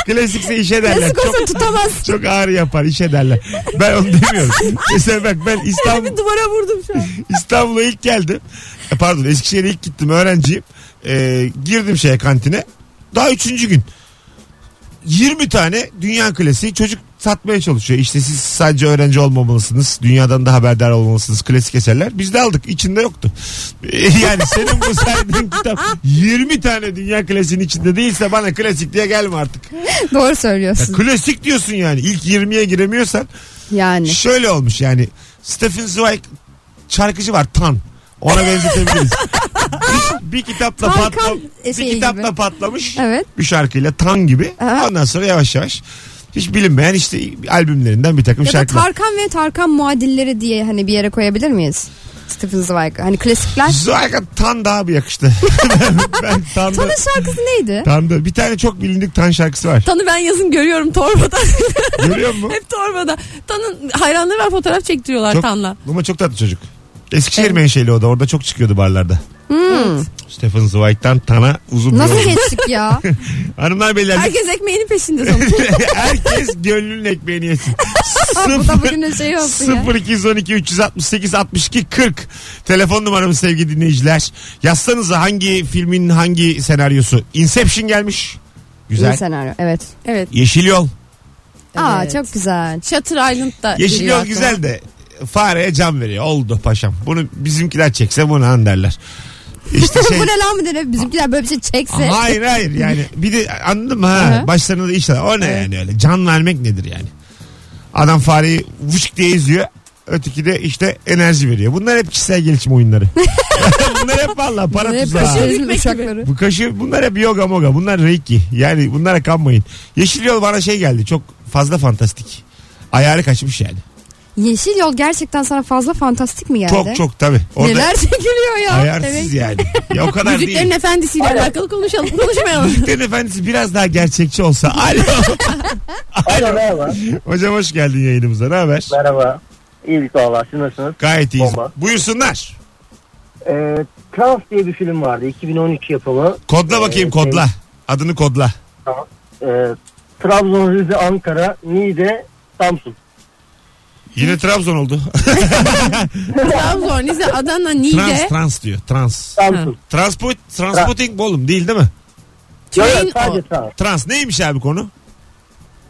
Klasikse işe derler.
Klasik
çok,
olsa tutamaz.
çok ağır yapar işe derler. Ben
(laughs)
onu demiyorum. Mesela bak ben İstanbul,
Duvara vurdum
(laughs)
şu an.
İstanbul'a ilk geldim. E, Pardon Eskişehir'e ilk gittim öğrenciyim. E, girdim şeye kantine. Daha üçüncü gün. 20 tane dünya klasiği çocuk satmaya çalışıyor. İşte siz sadece öğrenci olmamalısınız. Dünyadan da haberdar olmalısınız. Klasik eserler. Biz de aldık. İçinde yoktu. E, yani senin bu saydığın kitap 20 tane dünya klasiğinin içinde değilse bana klasik diye gelme artık.
Doğru
Ya,
söylüyorsun.
klasik diyorsun yani. İlk 20'ye giremiyorsan
Yani.
Şöyle olmuş yani. Stephen Zweig şarkıcı var Tan. Ona
(laughs)
benzetebiliriz. bir, bir kitapla
Tarkan
patla, bir
şeyi
kitapla
gibi.
patlamış.
Evet.
Bir şarkıyla Tan gibi.
Evet.
Ondan sonra yavaş yavaş hiç bilinmeyen işte albümlerinden bir takım
Ya da
şarkılar.
Tarkan ve Tarkan muadilleri diye hani bir yere koyabilir miyiz? Stephen Zweig. Hani klasikler.
Zweig'a Tan daha
(laughs)
bir yakıştı. ben Tan'da,
Tan'ın şarkısı neydi?
Tan'da bir tane çok bilindik Tan şarkısı var.
Tanı ben yazın görüyorum torbada. (laughs)
Görüyor musun?
Hep torbada. Tanın hayranları var fotoğraf çektiriyorlar
Çok-
Tan'la.
Ama çok tatlı çocuk. Eskişehir menşeli o da. Orada çok çıkıyordu barlarda. Stephen Zweig'dan Tan'a uzun bir
Hmm. Nasıl
yol.
geçtik
(laughs)
ya?
Hanımlar beyler lütfen-
Herkes ekmeğinin peşinde sonuçta.
(laughs) Herkes gönlünün ekmeğini yesin.
Bu da bugünün şeyi olsun ya.
0 212 368 62 40 telefon numaramız sevgili dinleyiciler. Yazsanıza hangi filmin hangi senaryosu? Inception gelmiş. Güzel.
İyi senaryo. Evet.
Evet.
Yeşil Yol.
Aa
Evet.
çok güzel.
Shutter Island'da.
Yeşil
geliyor
Yol
aklıma.
güzel de fareye cam veriyor. Oldu paşam. Bunu bizimkiler çekse bunu an derler.
(laughs)
İşte şey,
Bu ne lan mı denir? Bizimkiler böyle bir şey çekse.
hayır hayır yani bir de anladın mı ha
Hı hı.
başlarına da işler o ne yani öyle can vermek nedir yani adam fareyi vuşk diye izliyor öteki de işte enerji veriyor bunlar hep kişisel gelişim oyunları (laughs) bunlar hep valla para
Ne
tuzağı
peşinizin uçakları.
bu kaşı bunlar hep yoga moga bunlar reiki yani bunlara kanmayın yeşil yol bana şey geldi çok fazla fantastik ayarı kaçmış yani
Yeşil yol gerçekten sana fazla fantastik mi geldi?
çok çok tabi orada
Neler (laughs) çekiliyor ya?
ayarsız yani ya o kadar
(laughs)
değil
Müziklerin efendisiyle alakalı konuşalım.
(laughs)
Konuşmayalım.
Müziklerin efendisi biraz daha gerçekçi olsa. Alo.
Alo merhaba.
Hocam hoş geldin yayınımıza. Ne haber?
Merhaba. İyilik valla. Siz nasılsınız?
Gayet iyiyiz.
Bomba.
Buyursunlar.
Ee, Trans diye bir film vardı. 2013 yapımı.
Kodla
Ee,
bakayım
şey-
kodla. Adını kodla.
Ee, Trabzon, Rize, Ankara, Niğde, Samsun.
Yine Trabzon oldu.
Trabzon, Rize, Adana,
(laughs) trans
Niğde.
trans diyor. Trans.
Samsun.
Transport, transporting bu oğlum değil değil mi?
Tülay'ın
Evet, sadece
o.
trans.
Trans neymiş abi konu?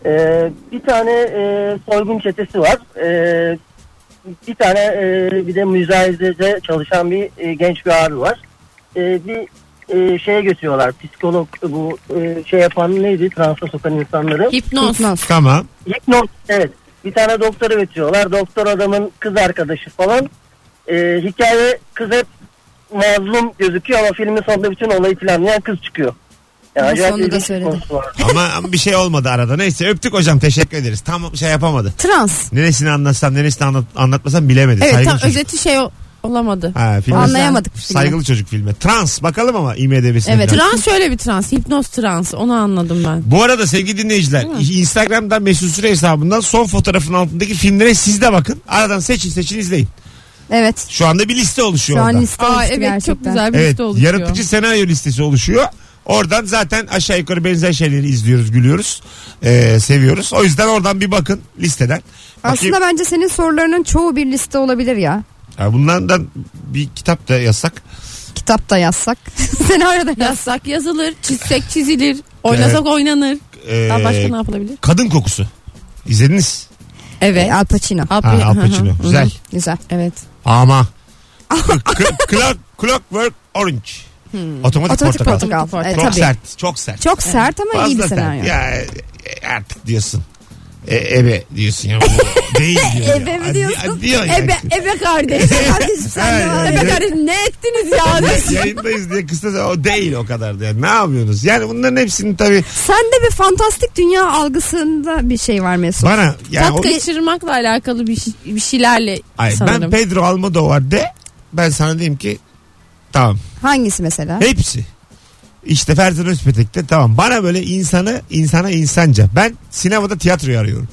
Ee, bir tane e, soygun çetesi var. Ee,
bir tane e, bir de müzayedede çalışan bir e, genç bir abi var. E, bir e, şeye götürüyorlar. Psikolog bu e, şey yapan neydi? Transa sokan insanları.
Hipnoz.
Tamam.
Hipnoz evet. Bir tane doktora götürüyorlar. Doktor adamın kız arkadaşı falan. E, hikaye kız hep mazlum gözüküyor ama filmin sonunda bütün olayı planlayan kız çıkıyor. Yani
Ama
acayip
sonunu da
ilginç bir
söyledi.
konusu var.
Ama ama bir şey olmadı arada. Neyse öptük hocam teşekkür ederiz. Tam şey yapamadı.
Trans.
Neresini anlatsam neresini anlat, anlatmasam bilemedi.
Evet
Saygılı
tam
çocuk.
özeti şey o- olamadı.
Ha, filmi-
Anlayamadık bir şey.
Saygılı çocuk filmi. Trans bakalım ama IMDB'sine.
Evet,
biraz.
Trans şöyle bir trans. Hipnoz trans. Onu anladım ben.
Bu arada sevgili dinleyiciler Instagram'dan Mesut Süre hesabından son fotoğrafın altındaki filmlere siz de bakın. Aradan seçin seçin izleyin.
Evet.
Şu anda bir liste oluşuyor
Şu
orada.
an liste
Aa
oluştu
evet
gerçekten.
çok güzel bir
Evet
liste oluşuyor.
yaratıcı senaryo listesi oluşuyor. Oradan zaten aşağı yukarı benzer şeyleri izliyoruz, gülüyoruz, ee, seviyoruz. O yüzden oradan bir bakın listeden. Bakayım.
Aslında bence senin sorularının çoğu bir liste olabilir ya.
Ya bunlardan bir kitap da yazsak.
Kitap da yazsak. (laughs) Senaryo da yaz.
Yazsak yazılır, çizsek çizilir, oynasak
Evet.
oynanır.
Ee,
Daha başka ne yapılabilir?
kadın kokusu. İzlediniz.
Evet.
E, Al Pacino.
Ha, Al Pacino. Güzel.
Güzel.
Evet.
Ama. K- Clock, Clockwork Orange. Otomatik,
Otomatik portakal.
portakal.
Otomatik
E,
Çok
tabii.
sert. Çok sert.
Çok sert ama iyi bir
Fazla
senaryo.
sert. Ya e, e, artık diyorsun. E, ebe diyorsun ya.
(laughs)
Bu Değil diyor.
Ebe
ya.
mi
Hadi-
diyorsun?
hadi diyor ya. (laughs)
Ebe, ebe kardeş.
Kardeşim sen de
Ha,
var.
yani.
ebe kardeş ne ettiniz ya?
Yayındayız diye kısa o değil o kadar da yani. Ne yapıyorsunuz? Yani bunların hepsini tabii
Sende bir fantastik dünya algısında bir şey var Mesut.
bana yani
Tat
o,
kaçırmakla alakalı bir, şey- bir şeylerle
Ay, ben
sanırım.
Pedro Almodovar de ben sana diyeyim ki tamam
Hangisi mesela?
Hepsi. İşte Ferzan Özpetek de tamam. Bana böyle insanı insana insanca. Ben sinemada
(laughs)
tiyatroyu arıyorum.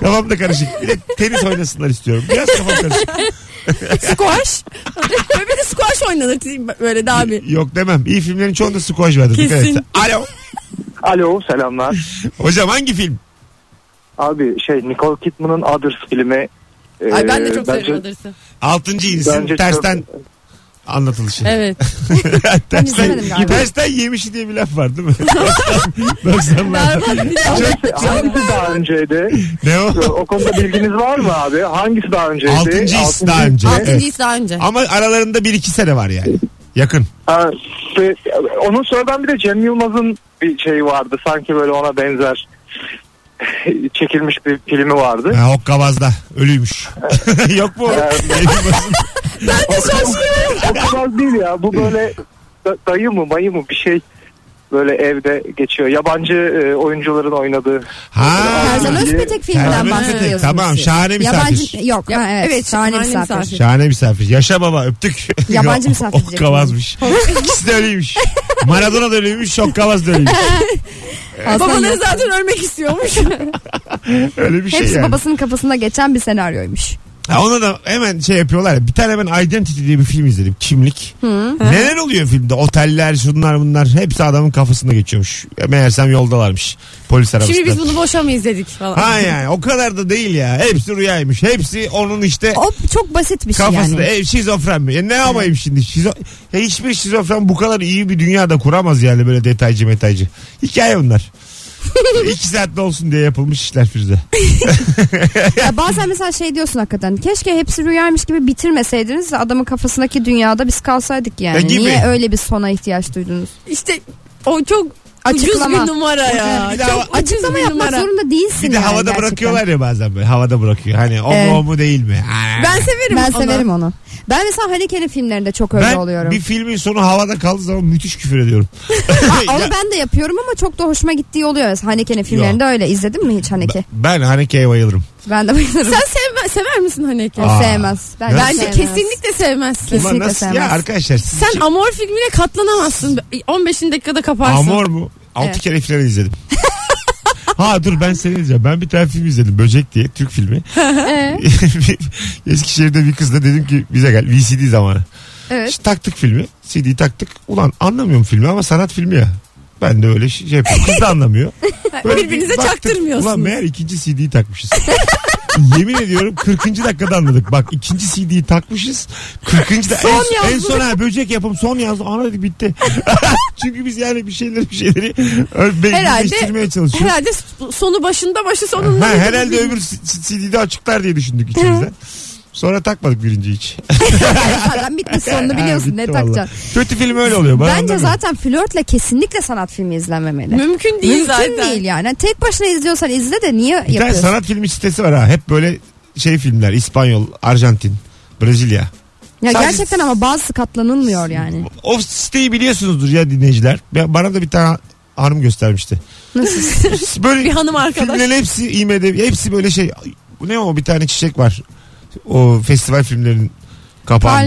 kafam da karışık. Bir de tenis oynasınlar istiyorum. Biraz
(laughs)
kafam karışık.
squash. (laughs) Böyle bir de squash oynadık böyle daha bir.
Yok demem. İyi filmlerin çoğunda squash vardı. Dikkat
Kesin.
et. Alo.
Alo selamlar.
Hocam hangi film?
Abi şey Nicole Kidman'ın Others filmi. e,
Ay Ee, ben de çok
bence-
severim Others'ı.
Altıncı insin
bence çok-
tersten anlatılışı.
Evet.
(laughs) tersten,
izlemedim galiba.
tersten yemişi diye bir laf var değil mi? 90'larda.
Berbat bir
Hangisi, hangisi daha önceydi? (laughs)
ne o?
o konuda bilginiz var mı abi? Hangisi daha önceydi?
Altıncı his
Altıncı-
daha önce. Evet.
Altıncı his daha önce.
Ama aralarında bir iki sene var yani. Yakın.
Ha, e, onun sonradan bir de Cem Yılmaz'ın bir şeyi vardı. Sanki böyle ona benzer (laughs) çekilmiş bir filmi vardı.
Ha, hokkabazda ölüymüş. (laughs) Yok mu? Elmasın.
O kadar değil ya. Bu böyle da- dayı mı mayı mı bir şey böyle evde geçiyor. Yabancı e, oyuncuların oynadığı.
ha.
Ferzan Özpetek filminden
Ferzan Özpetek,
bahsediyorsunuz.
tamam,
siz.
Şahane Misafir.
Yabancı, yok ha, evet,
evet,
şahane
Şahane
misafir.
Misafir.
Şahane misafir. Yaşa baba öptük. (laughs)
Yabancı misafir diyecektim.
Hokkabazmış. İkisi de ölüymüş. Maradona da ölüymüş, hokkabaz da ölüymüş.
Aslında
Babaları zaten ölmek istiyormuş.
Öyle bir şey
hepsi
yani.
babasının kafasında geçen bir senaryoymuş.
Ha, ona da hemen şey yapıyorlar. ya, Bir tane ben Identity diye bir film izledim. Kimlik. Neler oluyor filmde? Oteller, şunlar bunlar. Hepsi adamın kafasında geçiyormuş. Meğersem yoldalarmış. Polis arabasında.
Şimdi biz bunu boşa mı izledik falan.
Ha yani o kadar da değil ya. Hepsi rüyaymış. Hepsi onun işte
O çok basit bir şey
E- Kafası da
yani.
ev şizofren mi? E ne yapayım şimdi? Şizo ya hiçbir şizofren bu kadar iyi bir dünyada kuramaz yani böyle detaycı metaycı.
(laughs)
Hikaye bunlar. İki saatte olsun diye yapılmış işler Firuze.
Ya bazen mesela şey diyorsun hakikaten. Keşke hepsi rüyaymış gibi bitirmeseydiniz. de Adamın kafasındaki dünyada biz kalsaydık
Ya
yani.
E gibi.
Niye öyle bir sona ihtiyaç duydunuz?
İşte o çok
Açıklama.
ucuz bir numara ya.
Bir de hava-
Çok
Açıklama
ucuz bir
yapmak
numara.
zorunda değilsin
Bir de
yani
havada
gerçekten.
bırakıyorlar ya bazen böyle. Havada bırakıyor. Hani o
Evet.
mu o mu değil mi? Aa.
Ben severim
Ben
onu.
severim onu. Ben mesela Haneke'nin filmlerinde çok öyle
Ben
oluyorum.
bir filmin sonu havada kaldığı zaman müthiş küfür
(laughs)
ediyorum.
Onu
(laughs) şey- Ya,
ben de yapıyorum ama çok da hoşuma gittiği oluyor. Mesela Haneke'nin filmlerinde öyle. İzledin mi hiç Haneke?
ben Haneke'ye bayılırım.
Ben de bayılırım.
Sen sevme, sever misin Haneke?
O
Aa.
sevmez. Ben
Neden?
Bence
sevmez.
(laughs)
kesinlikle sevmezsin.
Ulan
Kesinlikle
nasıl ya
sevmez.
arkadaşlar? siz
Sen Amor filmine katlanamazsın. 15. dakikada kaparsın.
Amor mu? 6
Evet.
kere filan
(laughs)
izledim. ha dur ben seni izleyeceğim. Ben bir tane film izledim. Böcek diye.
(laughs)
Türk filmi.
Ee?
(laughs) Eskişehir'de bir kızla dedim ki bize gel. VCD zamanı.
Evet.
İşte taktık filmi. CD'yi taktık. Ulan anlamıyorum filmi ama sanat filmi ya. Ben de öyle şey yapıyorum. Kız
(laughs)
da anlamıyor. Böyle
Birbirinize
bir baktık,
çaktırmıyorsunuz.
Ulan meğer ikinci CD'yi takmışız. Yemin ediyorum 40. dakikada anladık. Bak ikinci CD'yi takmışız. 40. da
Son
en, en
yazdı.
son ha, böcek yapım son yazdı. Ana dedik bitti. (laughs) Çünkü biz yani bir şeyleri bir şeyleri
Herhalde-
değiştirmeye çalışıyoruz.
Herhalde sonu başında başı sonunda.
Ha, herhalde öbür CD'de açıklar diye düşündük içimizden. Sonra takmadık birinci hiç.
Zaten bitmiş sonunu
(laughs) Ha,
biliyorsun ne
bitti vallahi.
takacaksın.
Kötü film öyle oluyor. Bana
Bence
anlamıyorum.
zaten flörtle kesinlikle sanat filmi izlememeli.
Mümkün değil
Mümkün
zaten.
değil yani. Tek başına izliyorsan izle de niye
Bir tane
yapıyorsun?
sanat filmi sitesi var ha. Hep böyle şey filmler. İspanyol, Arjantin, Brezilya.
Ya
Sadece-
gerçekten ama bazı katlanılmıyor yani.
O siteyi biliyorsunuzdur ya dinleyiciler. Ya Bana da bir tane hanım göstermişti. Nasıl? (laughs) böyle
Bir hanım arkadaş.
filmlerin hepsi IMDb, hepsi böyle şey. Bu ne o bir tane çiçek var. O festival filmlerinin kapağında.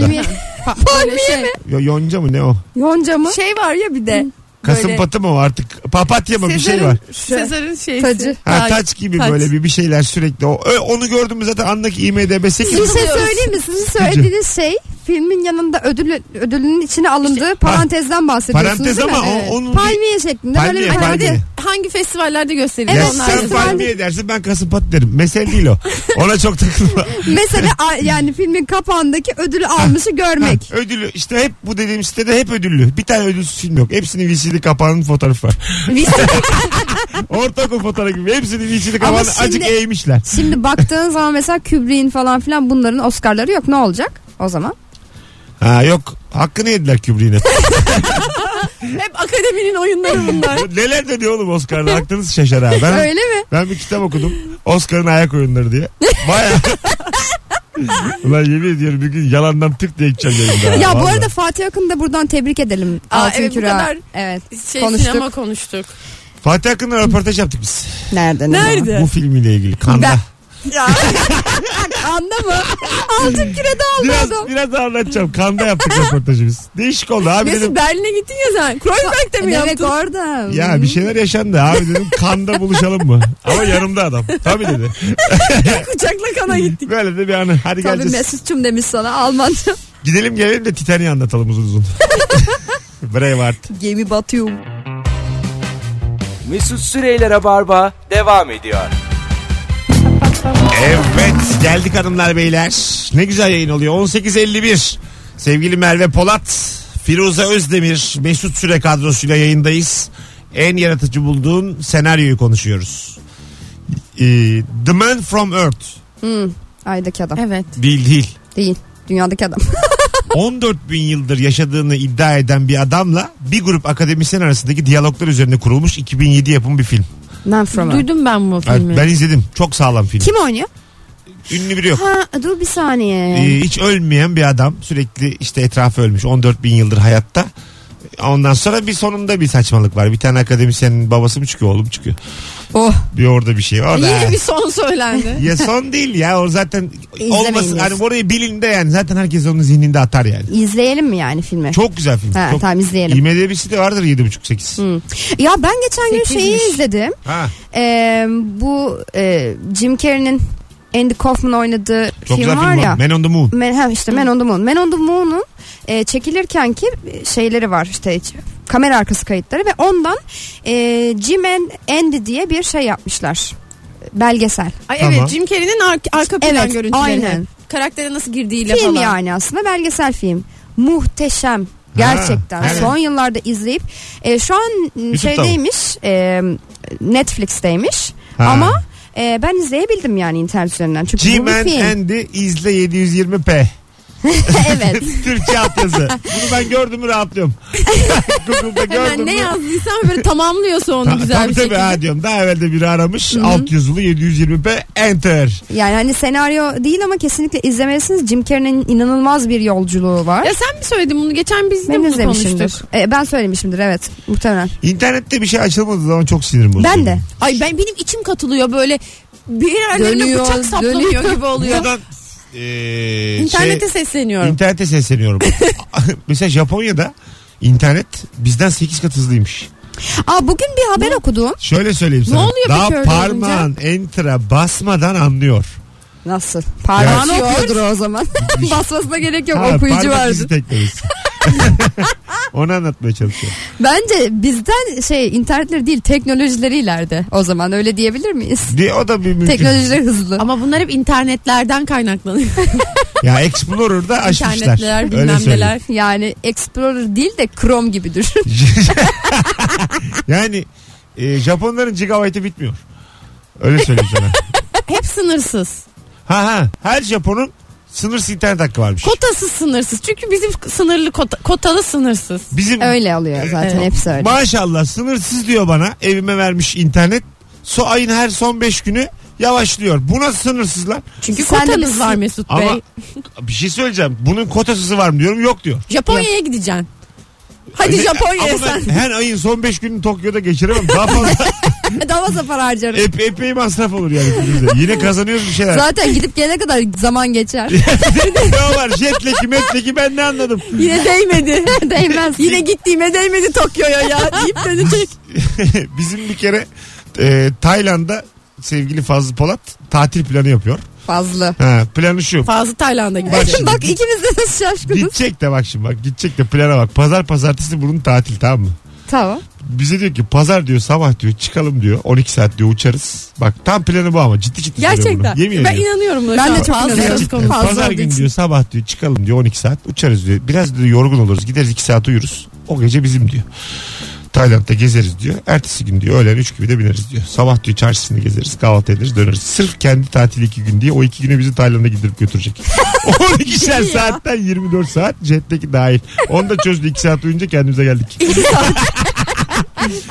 (laughs) Palmiye, şey-
Palmiye mi?
Yo- Yonca mı ne o?
yonca mı?
Şey var ya bir de.
Kasım patı mı o artık? Papatya mı bir şey var?
Sezar'ın şeysi.
Tacı.
Ha, taç gibi
taç.
böyle bir, bir şeyler sürekli. O, ö- onu gördüm mü zaten andaki IMDB 8.
Bir şey söyleyeyim mi? Sizin söylediğiniz şey filmin yanında ödül ödülünün içine alındığı parantezden bahsediyorsunuz
Parantez
değil mi?
ama o-
Evet.
onun bir-
palmiye şeklinde
Palmiye,
böyle bir
palmiye.
Hangi festivallerde gösteriyor
Ya
Evet,
onlar?
sen
festivalde-
palmiye dersin ben kasım patı derim. Mesele
(laughs)
değil o. Ona çok takılma.
mesela a- yani filmin kapağındaki ödülü almışı görmek.
Ha, ödüllü işte hep bu dediğim sitede hep ödüllü. Bir tane ödülsüz film yok. Hepsinin VCD
(laughs)
kapağının fotoğrafı var. (laughs) Ortaokul fotoğrafı gibi. Hepsinin VCD kapağını
şimdi-
acık eğmişler.
Şimdi baktığın zaman mesela Kubrick'in falan filan bunların Oscar'ları yok. Ne olacak o zaman?
Ha yok. Hakkını yediler
(laughs)
Kubrick'in.
Hep akademinin oyunları
(laughs)
bunlar.
Bu Neler dönüyor oğlum Oscar'da aklınız şaşar ha. Ben,
Öyle mi?
ben bir kitap okudum. Oscar'ın ayak oyunları diye. Baya.
(laughs)
Ulan yemin ediyorum bir gün yalandan tık diye gideceğim yayında. ha,
Ya bu
vallahi.
arada Fatih Akın'ı da buradan tebrik edelim.
Aa,
Altın
evet, bu
Küre.
kadar
(laughs) Evet.
Şey,
Konuştuk.
Sinema konuştuk.
Fatih Akın'la röportaj yaptık biz.
Nereden?
Nerede?
Bu filmiyle ilgili. Kanda.
Ben-
(laughs)
Anda mı? Altın Küre'de
Biraz,
almadım.
biraz daha anlatacağım. Kanda yaptık röportajımız. Değişik oldu abi dedim.
Mesut Berlin'e gittin ya sen. Kreuzberg'de mi
Evet
yaptın?
orada.
Ya bir şeyler yaşandı abi dedim kanda buluşalım mı? Ama yanımda adam. Tabii dedi.
Kucakla kana gittik.
Böyle de bir anı.
Tabii
Hadi geleceğiz.
Mesut'cum demiş sana Almanca.
Gidelim gelelim de Titanic'i anlatalım uzun uzun. Braveheart.
(laughs) Gemi batıyor.
Mesut Süreyler'e barba devam ediyor.
Evet geldik hanımlar beyler. Ne güzel yayın oluyor. 18.51. Sevgili Merve Polat, Firuze Özdemir, Mesut Süre kadrosuyla yayındayız. En yaratıcı bulduğun senaryoyu konuşuyoruz. Ee, The Man From Earth.
Aydaki adam.
Evet.
Değil değil.
Değil. Dünyadaki (laughs) adam.
14 bin yıldır yaşadığını iddia eden bir adamla bir grup akademisyen arasındaki diyaloglar üzerine kurulmuş 2007 yapım bir film.
Man from Earth.
Duydum ben bu
Evet,
filmi.
Ben izledim. Çok sağlam film.
Kim oynuyor?
Ünlü biri yok.
Ha, dur bir saniye.
Ee, hiç ölmeyen bir adam sürekli işte etrafı ölmüş 14 bin yıldır hayatta. Ondan sonra bir sonunda bir saçmalık var. Bir tane akademisyenin babası mı çıkıyor oğlum çıkıyor.
Oh.
Bir orada bir şey var. Orada-
Yine bir son
(laughs)
söylendi.
Ya son değil ya o zaten
İzlemeyin
olmasın. Hani
diyorsun.
orayı bilin de yani zaten herkes onun zihninde atar yani.
İzleyelim mi yani filmi?
Çok güzel film.
Ha,
Çok...
tamam izleyelim.
IMDb'si de vardır 7.5-8.
Ya ben geçen gün
Sekizmiş.
şeyi izledim.
Ha.
Ee, bu e, Jim Carrey'nin Andy Kaufman oynadığı
Şey
Çok
film
güzel
var
film
ya.
var. Man on the Moon.
Men, ha işte Men on the Moon. Men on the Moon'un e, çekilirken ki şeyleri var işte hiç- kamera arkası kayıtları ve ondan e, Jim and Andy diye bir şey yapmışlar. Belgesel.
Ay
Tamam.
evet Jim Carrey'nin ar- arka plan
Evet,
görüntüleri.
aynen.
Karaktere nasıl girdiğiyle
Film
falan.
yani aslında belgesel film. Muhteşem. Gerçekten
evet.
son yıllarda izleyip e, şu an m, şeydeymiş e, Netflix'teymiş
Ha.
ama e, ben izleyebildim yani internet üzerinden çünkü bu bir
G-Man
film.
Andy izle 720p.
(laughs) evet.
(laughs)
(laughs)
Türkçe altyazı. Bunu ben gördüm mü rahatlıyorum. Google'da gördüm
Hemen
mü?
ne yazdıysan böyle tamamlıyorsa onu
Ta-
güzel
tabii
bir
tabii
şekilde.
ha diyorum. Daha evvel de biri aramış. Alt yazılı 720p enter.
Yani hani senaryo değil ama kesinlikle izlemelisiniz. Jim Carrey'nin inanılmaz bir yolculuğu var.
Ya sen mi söyledin bunu? Geçen biz de
ben
bunu
izlemişimdir.
konuştuk.
E, ben söylemişimdir evet muhtemelen.
İnternette bir şey açılmadığı zaman çok sinirim bozuluyor.
Ben de.
Ay ben benim içim katılıyor böyle bir yerlerine
Dönüyor,
bıçak saplanıyor
dönüyor.
gibi oluyor.
Buradan eee,
İnternete
(laughs) şey,
sesleniyorum. (laughs)
internete sesleniyorum. Mesela Japonya'da internet bizden 8 kat hızlıymış.
Aa bugün bir haber okudum.
Şöyle söyleyeyim sana.
oluyor peki
Daha
öyle
parmağın enter'a basmadan anlıyor.
Nasıl? şey- Parmağını
Evet.
(laughs)
(laughs)
okuyordur o zaman. Basmasına gerek yok
Ha,
okuyucu
parmak
vardı.
izi teknolojisi. (laughs) Onu anlatmaya çalışıyorum.
Bence bizden şey internetleri değil teknolojileri ileride o zaman öyle diyebilir miyiz?
Diye o da bir mümkün.
Teknolojiler hızlı.
Ama bunlar hep internetlerden kaynaklanıyor.
Ya Explorer'da açmışlar.
İnternetler
Öyle
bilmem
söyleyeyim.
neler.
Yani Explorer değil de Chrome gibi düşün.
Yani e, Japonların gigabyte'ı bitmiyor. Öyle söyleyeyim
(laughs)
sana.
Hep sınırsız.
Ha ha. Her Japon'un sınırsız internet hakkı varmış.
Kotası sınırsız. Çünkü bizim sınırlı kota, kotalı sınırsız.
Bizim
Öyle oluyor zaten
Evet.
hepsi öyle.
maşallah sınırsız diyor bana evime vermiş internet. So ayın her son 5 günü yavaşlıyor. Bu nasıl sınırsız lan?
Çünkü
Sen de
kotanız
misin?
var Mesut
Ama
Bey.
bir şey söyleyeceğim. Bunun kotasısı var mı diyorum. Yok diyor.
Japonya'ya gideceksin. Hadi
Ne-
Japonya'ya
Ama ben
sen.
her ayın son 5 gününü Tokyo'da geçiremem.
(laughs)
Daha fazla
Dava zapar harcarım.
ep, epey masraf olur yani. ikimiz de. Yine kazanıyoruz bir şeyler.
Zaten gidip gelene kadar zaman (laughs) geçer.
ne var? Jetleki, metleki ben ne anladım? (laughs)
Yine değmedi.
(laughs) Değmez.
Yine gittiğime değmedi Tokyo'ya (laughs) ya deyip dönecek.
Bizim bir kere e, Tayland'da sevgili Fazlı Polat tatil planı yapıyor.
fazla.
Ha, planı şu.
Fazla Tayland'a
Bak
gidecek.
şimdi.
Bak ikimiz de nasıl şaşkınız.
Gidecek de bak şimdi bak gidecek de plana bak. Pazar pazartesi bunun tatil tamam mı?
Tamam.
Bize diyor ki pazar diyor sabah diyor çıkalım diyor 12 saat diyor uçarız. Bak tam planı bu ama ciddi ciddi söylüyorum bunu.
Gerçekten.
Yemin
ben
ediyorum.
inanıyorum buna.
Ben
şu
de
an.
çok
Fazla
inanıyorum.
söz konusu. Fazla
Pazar
olduğu
gün
için.
diyor sabah diyor çıkalım diyor 12 saat uçarız diyor. Biraz diyor yorgun oluruz gideriz 2 saat uyuruz. O gece bizim diyor. Tayland'da gezeriz diyor. Ertesi gün diyor öğlen 3 gibi de bineriz diyor. Sabah diyor çarşısını gezeriz kahvaltı ederiz döneriz. Sırf kendi tatili 2 gün diye o 2 güne bizi Tayland'a gidip götürecek. (laughs)
Şey
12'şer saatten 24 saat jetteki dahil. Onu da çözdü 2 saat uyunca kendimize geldik.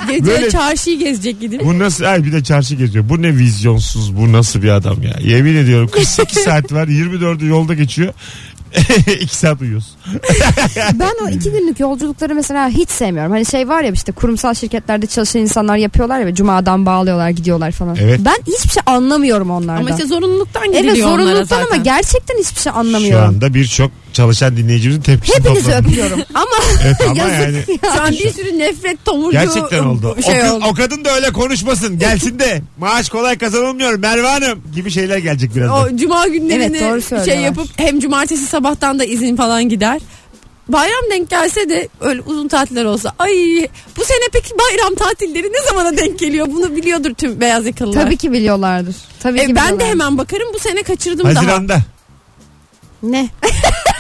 Gece
Böyle-
çarşıyı gezecek gidip.
Bu nasıl ay bir de çarşı geziyor. Bu ne vizyonsuz bu nasıl bir adam ya. Yemin ediyorum 48 saat var 24'ü yolda geçiyor. (laughs) 2 saat uyuyoruz.
Ben o iki günlük yolculukları mesela hiç sevmiyorum. Hani şey var ya işte kurumsal şirketlerde çalışan insanlar yapıyorlar ya cumadan bağlıyorlar gidiyorlar falan.
Evet.
Ben hiçbir şey anlamıyorum onlardan.
Ama işte zorunluluktan gidiliyor
evet
onlara
zorunluluktan
zaten.
ama gerçekten hiçbir şey
Şu
anlamıyorum.
anda birçok çalışan dinleyicimizin tepkisini
Hepinizi
topladım.
(laughs)
öpüyorum. Ama
(laughs) Evet, ama yani
yazık ya.
Şu an bir sürü nefret tomurcuğu
gerçekten oldu. o,
Şey
kı-
oldu.
o kadın da öyle konuşmasın. Gelsin de maaş kolay kazanılmıyor Merve Hanım gibi şeyler gelecek birazdan.
O cuma günlerini
Evet, doğru
şey
söylüyorlar.
yapıp hem cumartesi sabahtan da izin falan gider. Bayram denk gelse de öyle uzun tatiller olsa. Ay bu sene peki bayram tatilleri ne zamana denk geliyor? Bunu biliyordur tüm beyaz yakalılar.
Tabii ki biliyorlardır. Tabii
E,
ki
ben de
biliyorlardır.
hemen bakarım bu sene kaçırdım daha.
Haziranda.
Ne?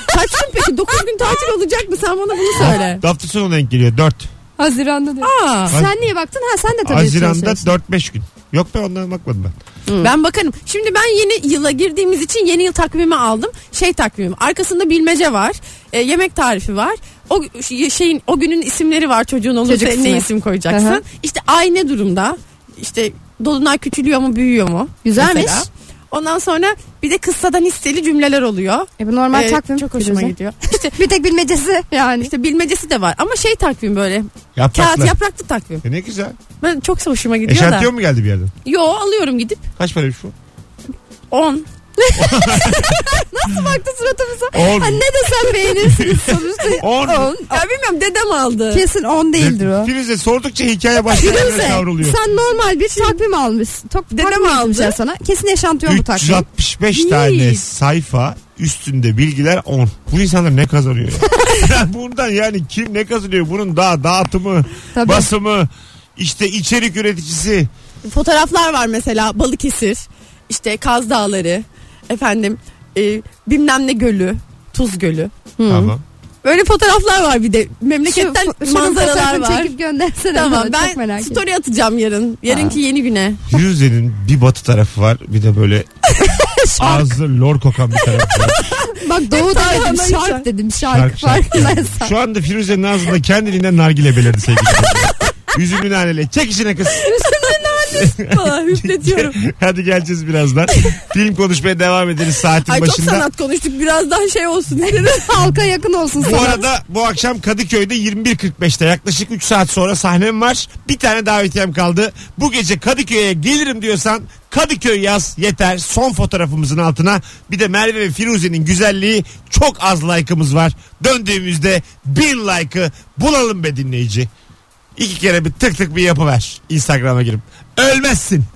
Kaç gün peki? 9 gün tatil olacak mı? Sen bana bunu söyle.
Hafta sonu denk geliyor 4.
Haziran'da diyor.
Aa,
Sen niye baktın? Ha sen de tabii
Haziranda
çalışıyorsun.
4-5 gün. Yok ben onlara bakmadım ben.
ben bakarım. Şimdi ben yeni yıla girdiğimiz için yeni yıl takvimi aldım. Şey takvimim. Arkasında bilmece var. e, yemek tarifi var. O gü- şeyin o günün isimleri var çocuğun olursa
Çocuk
ne
ismi.
isim koyacaksın.
Aha.
İşte ay ne durumda? İşte dolunay küçülüyor mu büyüyor mu?
Güzelmiş.
Mesela. Ondan sonra bir de kıssadan hisseli cümleler oluyor.
E bu normal
E,
takvim.
çok hoşuma
Güzel.
gidiyor. (laughs)
Bir tek bilmecesi yani.
İşte bilmecesi de var ama şey takvim böyle.
Yapraklar.
Kağıt yapraklı takvim.
E ne güzel.
Ben çok hoşuma gidiyor da.
Eşantiyon mu geldi bir yerden?
Yo alıyorum gidip
Kaç paraymış bu?
10.
baktı suratımıza.
10.
Ha, ne desem beğenirsiniz sonuçta.
10.
On.
Ya bilmiyorum dedem aldı.
Kesin 10 değildir o.
Firuze sordukça hikaye başka yerlere kavruluyor.
Sen normal bir takvim almışsın. Tok,
Dedem
takvim
aldı.
almışlar sana. Kesin yaşantıyor bu takvim.
365 tane
İyi.
sayfa üstünde bilgiler 10. Bu insanlar ne kazanıyor? ya? Ya Bundan yani kim ne kazanıyor? Bunun daha dağıtımı,
Tabii.
basımı, işte içerik üreticisi.
Fotoğraflar var mesela Balıkesir, işte Kaz Dağları, efendim e, bilmem ne gölü, Tuz Gölü.
Tamam.
Böyle fotoğraflar var bir de memleketten
Şu- şunun
manzaralar
fotoğrafını
var.
çekip göndersene.
Tamam
bana, çok
ben
merak
story atacağım yarın. Yarınki yeni güne.
Firuze'nin bir batı tarafı var. Bir de böyle ağzı lor kokan bir tarafı var.
ettim. Bak doğu da
Tarhana'yı
dedim
çağır.
şark dedim şark,
Şarkı şarkı.
farkındaysan.
Şu anda Firuze'nin ağzında kendiliğinden nargile belirdi sevgili. Yüzümün hanele. Çek işine kız.
Falan hüfletiyorum.
Hadi geleceğiz birazdan. Film konuşmaya devam ederiz saatin
Ay çok
başında.
sanat konuştuk birazdan
(laughs)
şey olsun.
Halka yakın olsun
Bu
sana.
arada bu akşam Kadıköy'de 21.45'te yaklaşık 3 saat sonra sahnem var. Bir tane davetiyem kaldı. Bu gece Kadıköy'e gelirim diyorsan Kadıköy yaz yeter. Son fotoğrafımızın altına bir de Merve ve Firuze'nin güzelliği çok az like'ımız var. Döndüğümüzde bin like'ı bulalım be dinleyici. İki kere bir tık tık bir yapıver Instagram'a girip. Ölmezsin.